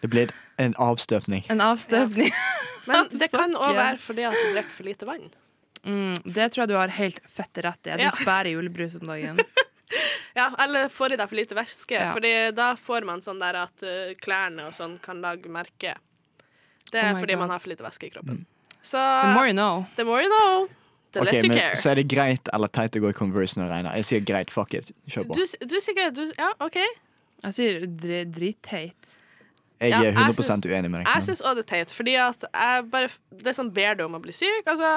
S2: Det blir en avstøpning.
S3: en avstøpning.
S4: Men det kan
S3: Sokker.
S4: òg være fordi at du drikker for lite vann.
S3: Mm, det tror jeg du har helt fett rett i. Jeg drikker bare julebrus om dagen.
S4: Ja, Eller får i deg for lite væske,
S3: Ja.
S4: Fordi da får man sånn der at eh, klærne og sånn kan lage merke. Det er
S3: Oh my
S4: fordi
S3: God.
S4: man har for lite væske i kroppen. Så
S3: The more you know.
S4: the more you know, the
S2: Mm. Ok,
S4: less you
S2: men
S4: care.
S2: Så er det greit eller teit å gå i Converse når det regner? Jeg sier greit, fuck it. Kjør på.
S4: Du, s- du sikkert du, s- Ja, OK.
S3: Jeg sier dri- dritteit.
S2: Jeg
S4: ja,
S2: er
S4: jeg
S2: 100
S4: syns-
S2: uenig med deg.
S4: Jeg syns òg det er teit, fordi at jeg bare f- Det som ber deg om å bli syk, altså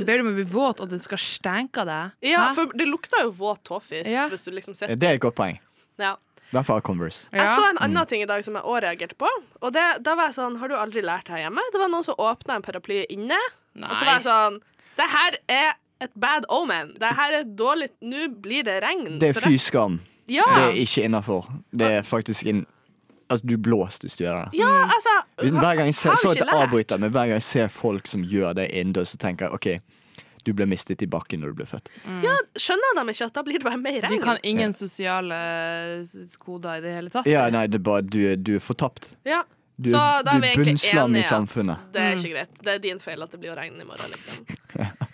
S3: Ber du om å bli våt, og det skal stenke av deg?
S4: Ja,
S3: Hæ?
S4: for det lukter jo våt tåfis
S3: Ja.
S4: hvis du liksom
S2: Ja,
S4: sitter
S2: Det er et godt poeng.
S4: ja.
S2: Derfor har jeg Converse.
S4: Jeg så en
S2: Mm.
S4: annen ting i dag som jeg òg reagerte på. Og det, da var jeg sånn Har du aldri lært her hjemme? Det var noen som åpna en paraply inne, og så var jeg sånn Det her er et bad omen. Det her er dårlig Nå blir det regn.
S2: Det er
S4: for resten-
S2: fy skam.
S4: Ja.
S2: Det er ikke innafor. Det er faktisk inn... Altså, du blåst hvis du gjør det.
S4: ja, altså
S2: Hver gang jeg ser,
S4: har vi
S2: så at
S4: ikke
S2: jeg
S4: lært?
S2: avbryter, men hver gang jeg ser folk som gjør det innendørs, så tenker jeg OK, du ble mistet i bakken når du ble født.
S4: Mm. Ja, skjønner de ikke at da blir det bare mer regn?
S3: De kan ingen sosiale s- koder i det hele tatt.
S2: Ja, nei, det er bare du, er- du er fortapt.
S4: Ja.
S2: Du
S4: så
S2: er-
S4: da er
S2: du
S4: vi
S2: er
S4: egentlig
S2: bunnslam i
S4: enige at
S2: samfunnet.
S4: Det er ikke greit. Det er din feil at det blir å regne i morgen, liksom.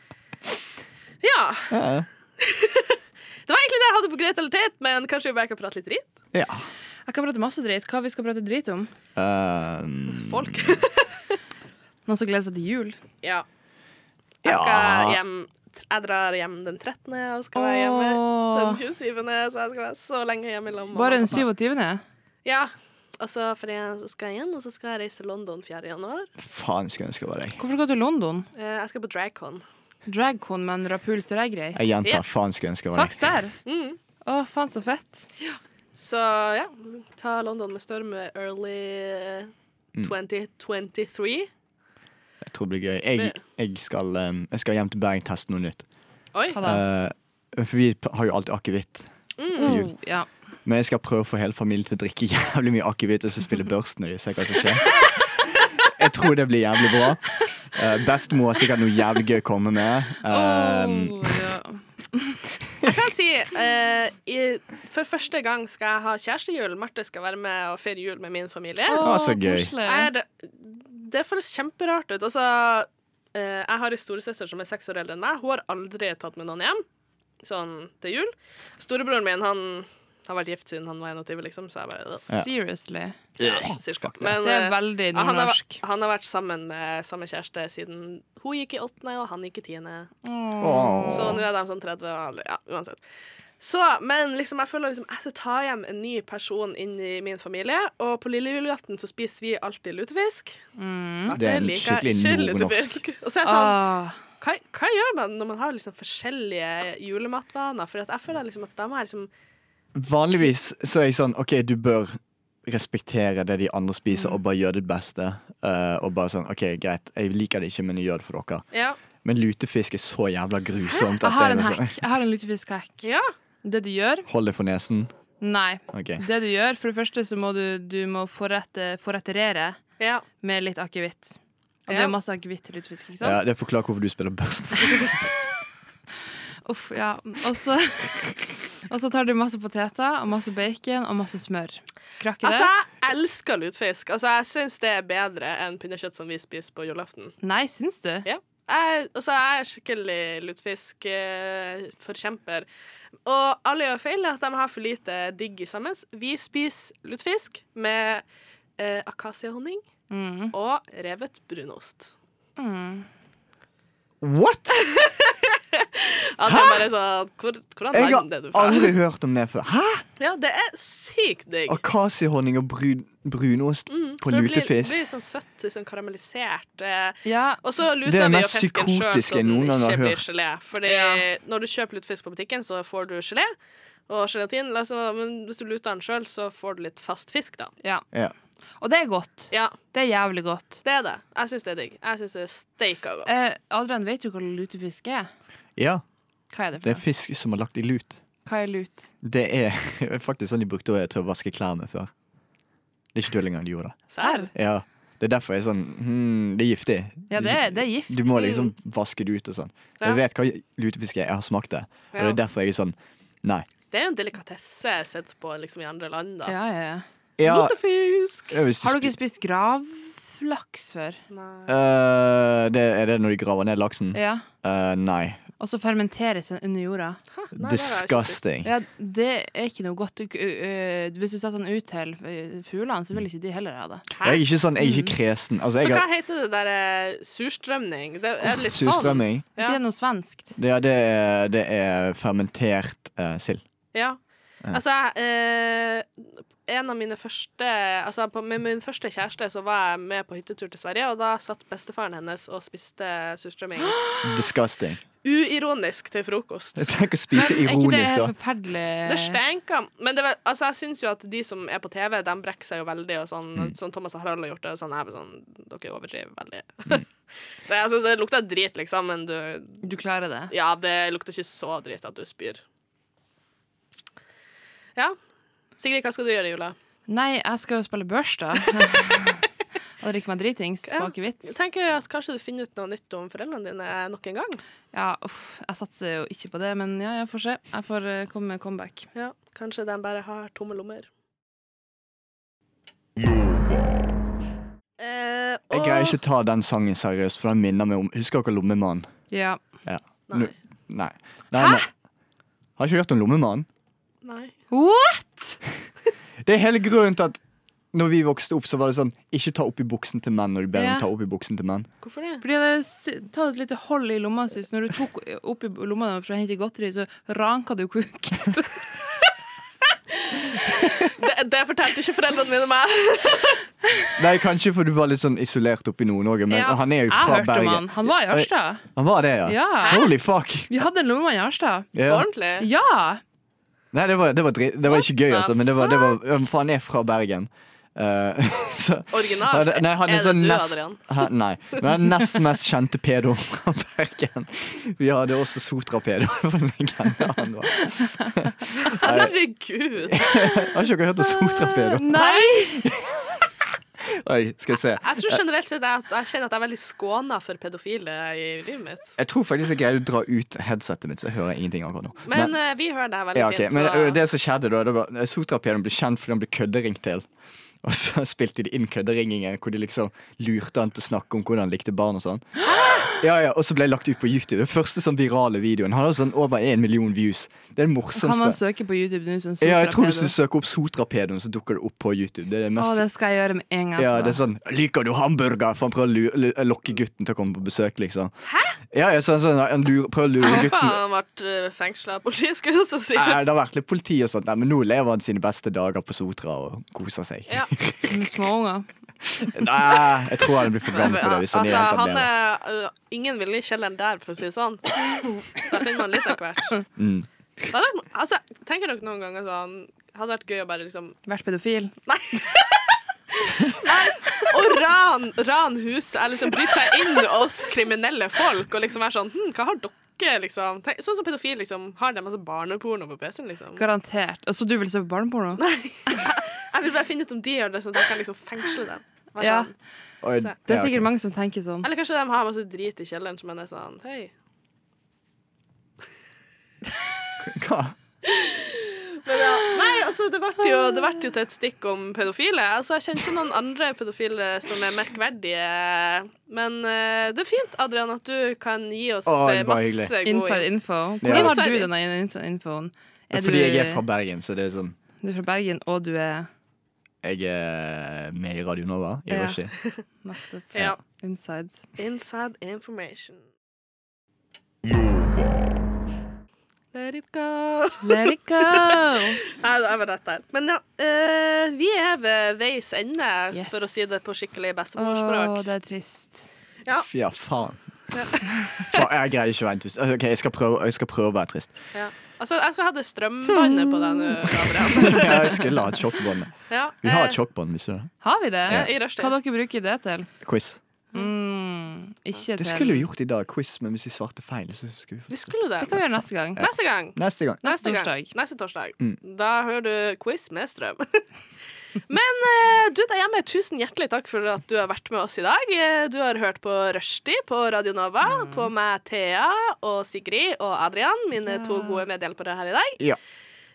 S4: Ja.
S2: Ja.
S4: Det var egentlig det jeg hadde på greit eller teit, men kanskje vi bare kan prate litt dritt?
S2: ja.
S3: Jeg kan prate masse dritt. Hva vi skal prate dritt om?
S2: Ehm,
S4: Folk.
S3: Noen som gleder seg til jul?
S4: ja. Jeg skal hjem Jeg drar hjem den 13. og skal være hjemme den 27., så jeg skal være så lenge hjemme i lag med
S3: Bare
S4: mamma
S3: den
S4: og pappa.
S3: 27.
S4: Ja. Og så fordi jeg så skal jeg hjem, og så skal jeg reise til London 4. januar.
S2: Faen, skulle jeg ønske det var deg.
S3: Hvorfor skal du til London?
S4: Eh, Jeg skal på Dragcon.
S3: Dragcon med en rapuls til deg, greit.
S2: Jeg gjentar
S4: Ja.
S2: faen, skulle jeg ønske det var
S3: Fuck
S2: deg.
S3: serr.
S4: Mm.
S3: Å, faen så fett.
S4: Så ja, ta London med storm med early eh, 2023.
S2: Jeg tror det blir gøy. Jeg, jeg, skal, ehm, jeg skal hjem til Bergen og teste noe nytt.
S4: Oi.
S3: Hva da?
S2: Eh, for vi har jo alltid akevitt.
S4: Mm.
S2: til Eh, jul.
S3: Oh, ja.
S2: Men jeg skal prøve å få hele familien til å drikke jævlig mye akevitt og så spille børsten når de ser hva som skjer. Jeg tror det blir jævlig bra. Eh, Bestemor har sikkert noe jævlig gøy å komme med. Ehm,
S3: Oh, ja.
S4: Jeg kan si eh, i, For første gang skal jeg ha kjærestejul. Marte skal være med og feire jul med min familie.
S2: Å, så gøy.
S3: koselig.
S4: Jeg Er, det føles kjemperart ut. Altså, eh, jeg har en storesøster som er seks år eldre enn meg. Hun har aldri tatt med noen hjem sånn til jul. Storebroren min han har vært gift siden han var 21, liksom, så jeg bare øh,
S3: Seriously.
S4: cirka. Men,
S3: Det er
S4: eh,
S3: veldig
S4: Ja, han, har,
S3: nordnorsk.
S4: vært- han har vært sammen med samme kjæreste siden hun gikk i åttende, og han gikk i tiende.
S2: Åh.
S4: Så nå er de sånn 30 og alle- Ja, uansett. Så, men liksom, jeg føler liksom, jeg skal ta hjem en ny person inn i min familie, og på lille julaften så spiser vi alltid lutefisk. Artig,
S2: Det er en
S4: liker jeg
S2: skikkelig
S4: ikke
S2: nordnorsk.
S4: lutefisk. Og så er jeg sånn,
S3: Ah,
S4: hva, hva gjør man når man har liksom forskjellige julematvaner? For at jeg føler liksom at da må jeg liksom
S2: Vanligvis så er jeg sånn OK, du bør respektere det de andre
S3: Mm.
S2: spiser, og bare gjøre ditt beste. Eh, og bare sånn OK, greit, jeg liker det ikke, men jeg gjør det for dere.
S4: Ja.
S2: Men lutefisk er så jævla grusomt.
S3: jeg har
S2: det er
S3: en
S2: sånn-
S3: hack. Jeg har en lutefiskhack.
S4: ja.
S3: Det du gjør
S2: Hold deg for nesen.
S3: Nei.
S2: OK.
S3: Det du gjør, for det første så må du, du må forrette, forretterere
S4: ja.
S3: med litt akevitt. Og det
S4: Ja.
S3: er masse akevitt til lutefisk, ikke sant?
S2: Ja, det forklarer hvorfor du spiller børsten.
S3: Uff, ja. Og så, og så tar du masse poteter og masse bacon og masse smør. Krakker
S4: Altså, jeg elsker lutefisk. Altså, jeg syns det er bedre enn pinnekjøtt som vi spiser på julaften.
S3: det? Nei, syns du?
S4: Ja. Jeg, altså, jeg er skikkelig lutefisk-forkjemper. Og alle gjør feil at de har for lite digg i sammen. Vi spiser lutefisk med eh, akasiehonning
S3: Mm.
S4: og revet brunost.
S3: Mm.
S2: What?!
S4: At det er bare sånn hvor, Hvordan
S2: Jeg
S4: lagde
S2: har
S4: det du fra?
S2: aldri hørt om det før. Hæ?
S4: Ja, det er sykt digg.
S2: Akasiehonning og brun, brunost på lutefisk.
S4: Mm, Det blir, blir sånn søtt, litt sånn karamellisert. eh,
S3: Ja,
S4: Og så luter
S2: Det er det
S4: vi jo
S2: mest
S4: fisken sjøl
S2: psykotiske
S4: så
S2: jeg
S4: den
S2: noen gang har
S4: ikke blir
S2: hørt.
S4: gelé. Fordi
S3: Ja.
S4: når du kjøper lutefisk på butikken, så får du gelé og gelatin. La oss- Men hvis du luter den sjøl, så får du litt fast fisk, da.
S3: ja.
S2: Ja.
S3: Og det er godt.
S4: Ja,
S3: Det er jævlig godt.
S4: det er det. Jeg syns det er digg. Jeg syns det er steika godt.
S3: Eh, Adrian, vet du hva lutefisk er?
S2: Ja,
S3: Hva er det
S2: det er
S3: for noe?
S2: fisk som er lagt i lut.
S3: Hva er lut?
S2: Det er faktisk sånn de brukte å- til å vaske klær med før. Det er ikke tull engang de gjorde det.
S4: Serr?
S2: Ja, det er derfor jeg er sånn hmm, Det er giftig.
S3: Ja, det er, det er gift.
S2: Du må liksom vaske det ut og sånn.
S4: Ja.
S2: Jeg vet hva lutefisk er, jeg har smakt det. Og det
S4: Ja.
S2: er derfor jeg er sånn Nei.
S4: Det er jo en delikatesse sett på liksom i andre land, da.
S3: Ja, ja, ja.
S2: Ja,
S4: Lutefisk!
S2: ja, hvis du
S3: Har dere
S2: spi-
S3: spist gravlaks før?
S4: Nei.
S2: Eh, det, Er det når de graver ned laksen?
S3: Ja.
S2: Eh, nei.
S3: Og så fermenteres den under jorda.
S4: Nei, det har jeg ikke spist.
S2: Disgusting.
S3: Ja, det er ikke noe godt. Du- øh, Hvis du setter den ut til øh, fuglene, så vil ikke de heller ha det.
S2: Jeg er ikke sånn, jeg er ikke kresen. Altså,
S4: For
S2: jeg
S4: hva
S2: har
S4: heter det der eh, surstrømning? Det er litt sånn.
S2: surstrømming.
S3: Er
S4: Ja.
S3: ikke det noe svenskt?
S2: Det, er- det, er- det er fermentert eh, sild.
S4: Ja. Altså, eh, en av mine første Altså, på, med min første kjæreste så var jeg med på hyttetur til Sverige, og da satt bestefaren hennes og spiste surstrømming.
S2: Disgusting.
S4: Uironisk til frokost.
S2: Tenk å spise
S3: er ikke det
S2: ironisk, da.
S3: helt forferdelig?
S4: Det stenka. Men det var, altså, jeg syns jo at de som er på TV, de brekker seg jo veldig, og sånn, sånn Thomas og Harald har gjort det, og sånn, jeg er bare sånn Dere overdriver veldig. det, altså, det lukter drit, liksom, men du
S3: Du klarer det?
S4: Ja, det lukter ikke så drit at du spyr. Ja. Sigrid, hva skal du gjøre i jula?
S3: Nei, jeg skal jo spille børs, da. Og drikke meg dritings på
S4: Ja.
S3: akevitt.
S4: Jeg tenker at Kanskje du finner ut noe nytt om foreldrene dine nok en gang.
S3: Ja, uff, jeg satser jo ikke på det, men ja, jeg får se. Jeg får øh, komme med comeback.
S4: Ja, Kanskje de bare har tomme lommer. Eh,
S2: Jeg
S4: og-
S2: greier ikke ta den sangen seriøst, for den minner meg om Husker dere Lommemannen?
S3: Ja.
S4: Nei.
S2: Nå- Nei. Nei, Hæ? Har ikke hørt om Lommemannen?
S4: Nei.
S3: What?!
S2: Det er hele grunnen til at når vi vokste opp, så var det sånn Ikke ta opp i buksen til menn når de ber om
S3: Ja.
S2: å ta opp i buksen til menn.
S4: Hvorfor det?
S3: Fordi det s- Ta et lite hold i lomma si, så når du tok opp i lomma for å hente godteri, så ranka du kuken.
S4: Det, det fortalte ikke foreldrene mine meg.
S2: Nei, kanskje for du var litt sånn isolert oppe i Nord-Norge, men
S3: Ja,
S2: han er jo
S3: Jeg
S2: fra
S3: hørte om han.
S2: Bergen.
S3: Han var i Ørsta.
S2: Han var det, ja?
S3: Ja.
S2: Holy fuck!
S3: Vi hadde en lommemann i Ørsta.
S2: Ja.
S4: Ordentlig.
S3: Ja!
S2: Nei, det var, det var, dri- det var ikke gøy, altså, men det var, det var ja, For han er fra Bergen. Eh, så,
S4: Original.
S2: Ja, det- nei, han er,
S4: Ah, Er det
S2: sånn
S4: du,
S2: nest,
S4: Adrian?
S2: Hæ? nei, men han er nest mest kjente pedo fra Bergen. Vi hadde også Sotra-pedo. for en legende han var.
S4: Herregud.
S2: Har ikke dere hørt om Sotra-pedo?
S3: Nei!
S2: Oi, skal jeg se.
S4: Jeg tror generelt sett at jeg kjenner at jeg er veldig skåna for pedofile i livet mitt.
S2: Jeg tror faktisk jeg greide å dra ut headsetet mitt, så jeg hører ingenting akkurat nå.
S4: Men eh, vi hører deg veldig
S2: ja, ok,
S4: fint.
S2: men
S4: så-
S2: ø, det som skjedde da, det var eh, Sotrapedoen ble kjent fordi han ble kødderingt til. Og så spilte de inn kødderinginger hvor de liksom lurte han til å snakke om hvordan han likte barn. Og sånn Ja, ja, og så ble det lagt ut på YouTube. Den første sånn virale videoen. Han hadde sånn over én million views. Det er den
S3: Kan man
S2: morsomste.
S3: søke på YouTube nå som
S2: Ja, jeg tror hvis du
S3: sotrapedo?
S2: søker opp Sotrapedoen, så dukker det opp på YouTube. Det er det
S3: Å,
S2: mest
S3: det skal jeg gjøre med en gang.
S2: ja,
S3: etterpå.
S2: det er sånn 'Liker du hamburger?' For han prøver å lure, lu- lokke gutten til å komme på besøk, liksom. Hæ? Ja, ja, sånn, sånn, han lurer, prøver å lure
S4: Håper
S2: gutten
S4: han ble fengsla av politiet, skulle jeg også si.
S2: Nei, det har vært litt politi og sånt, Nei, men nå lever han sine beste dager på Sotra og koser seg.
S4: Ja.
S3: Med småunger.
S2: Nei, jeg tror han blir for gammel for det hvis han er
S4: Altså,
S2: helt
S4: han
S2: alene.
S4: er ø, Ingen ville i kjelleren der, for å si det sånn. Da finner man litt av hvert.
S2: Mm.
S4: Det hadde vært- Altså, tenker dere noen ganger sånn Hadde vært gøy å bare liksom
S3: Vært pedofil.
S4: Å ran, ran huset, eller liksom bryte seg inn hos kriminelle folk og liksom være sånn Hm, hva har dere, liksom? Tenk, sånn som pedofile, liksom. Har de masse barneporno på PC-en, liksom?
S3: Garantert. Og så du vil se på barneporno?
S4: Jeg vil bare finne ut om de gjør det, sånn at jeg kan liksom fengsle dem. Bare
S3: Ja.
S4: sånn.
S2: Oi,
S4: Det er
S2: ja,
S3: Det er
S2: ok.
S3: sikkert mange som tenker sånn.
S4: Eller kanskje de har masse drit i kjelleren som er sånn Hei.
S2: Hva?
S4: Nei, altså, det ble jo, det ble jo til et stikk om pedofile. Altså, jeg kjenner ikke noen andre pedofile som er merkverdige. Men eh, det er fint, Adrian, at du kan gi oss
S2: Å,
S4: eh,
S2: det var hyggelig.
S4: masse god
S3: Inside info. Hvor
S2: Ja.
S3: har du
S4: Inside-
S3: denne inside infoen? Er
S2: Fordi
S3: du,
S2: jeg er fra Bergen, så det er sånn
S3: du er fra Bergen, og du er
S2: Jeg er med i Radio Nova i
S3: Ja.
S2: Rushdie.
S3: nettopp
S4: Ja.
S3: inside.
S4: Inside information. Let it go.
S3: Let it go!
S4: Nei, det var rett der. Men ja, eh, vi er ved veis ende,
S3: Yes.
S4: for å si det på skikkelig bestemorspråk.
S3: Å, det er trist.
S2: Ja, faen. faen. Jeg greier ikke å være entusiastisk. Ok, jeg skal, prøve, jeg skal prøve å være trist.
S4: Ja. Altså, jeg skulle hatt det strømbåndet på deg nå, Adrian.
S2: Ja, Jeg skulle ha et sjokkbånd.
S4: Ja,
S2: Vi har
S4: eh,
S2: et sjokkbånd, visste du det?
S3: Har vi det?
S4: Ja, i rushtid.
S3: Hva dere bruker det til?
S2: Quiz.
S3: Mm, ikke til
S2: Det skulle vi gjort i dag, quiz, men hvis vi svarte feil, så skulle vi
S4: Vi skulle det.
S3: Det kan vi gjøre neste gang.
S4: Neste gang.
S2: Neste gang.
S3: Neste
S4: gang.
S3: torsdag.
S4: Neste torsdag. Da hører du quiz med strøm. Men eh, du der hjemme, tusen hjertelig takk for at du har vært med oss i dag. Eh, Du har hørt på Rushdie på Radio Nova, på meg Thea og Sigrid og Adrian, mine to gode medhjelpere her i dag.
S2: Ja.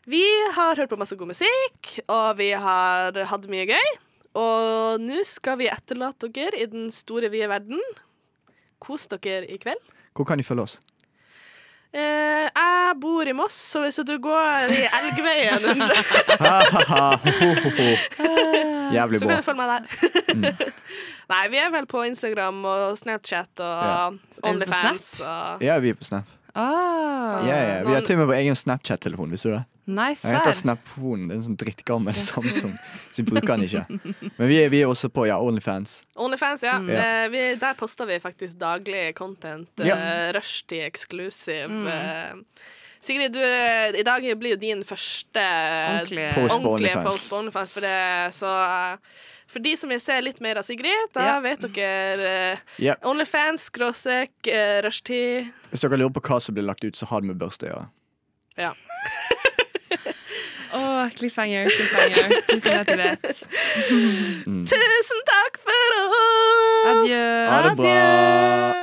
S4: Vi har hørt på masse god musikk, og vi har hatt mye gøy. Og nå skal vi etterlate dere i den store, vide verden. Kos dere i kveld.
S2: Hvor kan de følge oss?
S4: Eh, jeg bor i Moss, så hvis du går i Elgveien
S2: Ah, Jævlig
S4: Så
S2: bra.
S4: kan du følge meg der.
S2: Mm.
S4: Nei, vi er vel på Instagram og Snapchat og Onlyfans. Og...
S2: Ja, vi er på Snap.
S3: Ah,
S2: Ja, ja. Vi har til og med vår egen Snapchat-telefon. Visste du det?
S3: Nei,
S2: Den heter
S3: serr.
S2: Snapfonen. Det er en sånn drittgammel Samsung, så vi bruker den ikke. Men vi er, vi er også på ja, Onlyfans.
S4: Onlyfans, ja.
S2: Mm. Ja.
S4: Eh, vi, der poster vi faktisk daglig content.
S2: Ja.
S4: Eh, Rushdie exclusive. Eh, Sigrid, du, eh, i dag blir jo din første
S3: Ordentlig.
S2: Post på
S4: ordentlige
S2: OnlyFans.
S4: post på OnlyFans. For, det, så, eh, for de som vil se litt mer av Sigrid, da
S3: Ja.
S4: vet dere eh,
S2: Ja.
S4: Onlyfans, skråstrek, eh, rushtid.
S2: Hvis dere lurer på hva som blir lagt ut, så har det med børste å gjøre.
S4: Ja.
S3: Åh, cliffhanger, cliffhanger. Du som vet, du vet.
S2: Mm.
S4: Tusen takk for oss!
S3: Adjø.
S2: Ha det bra.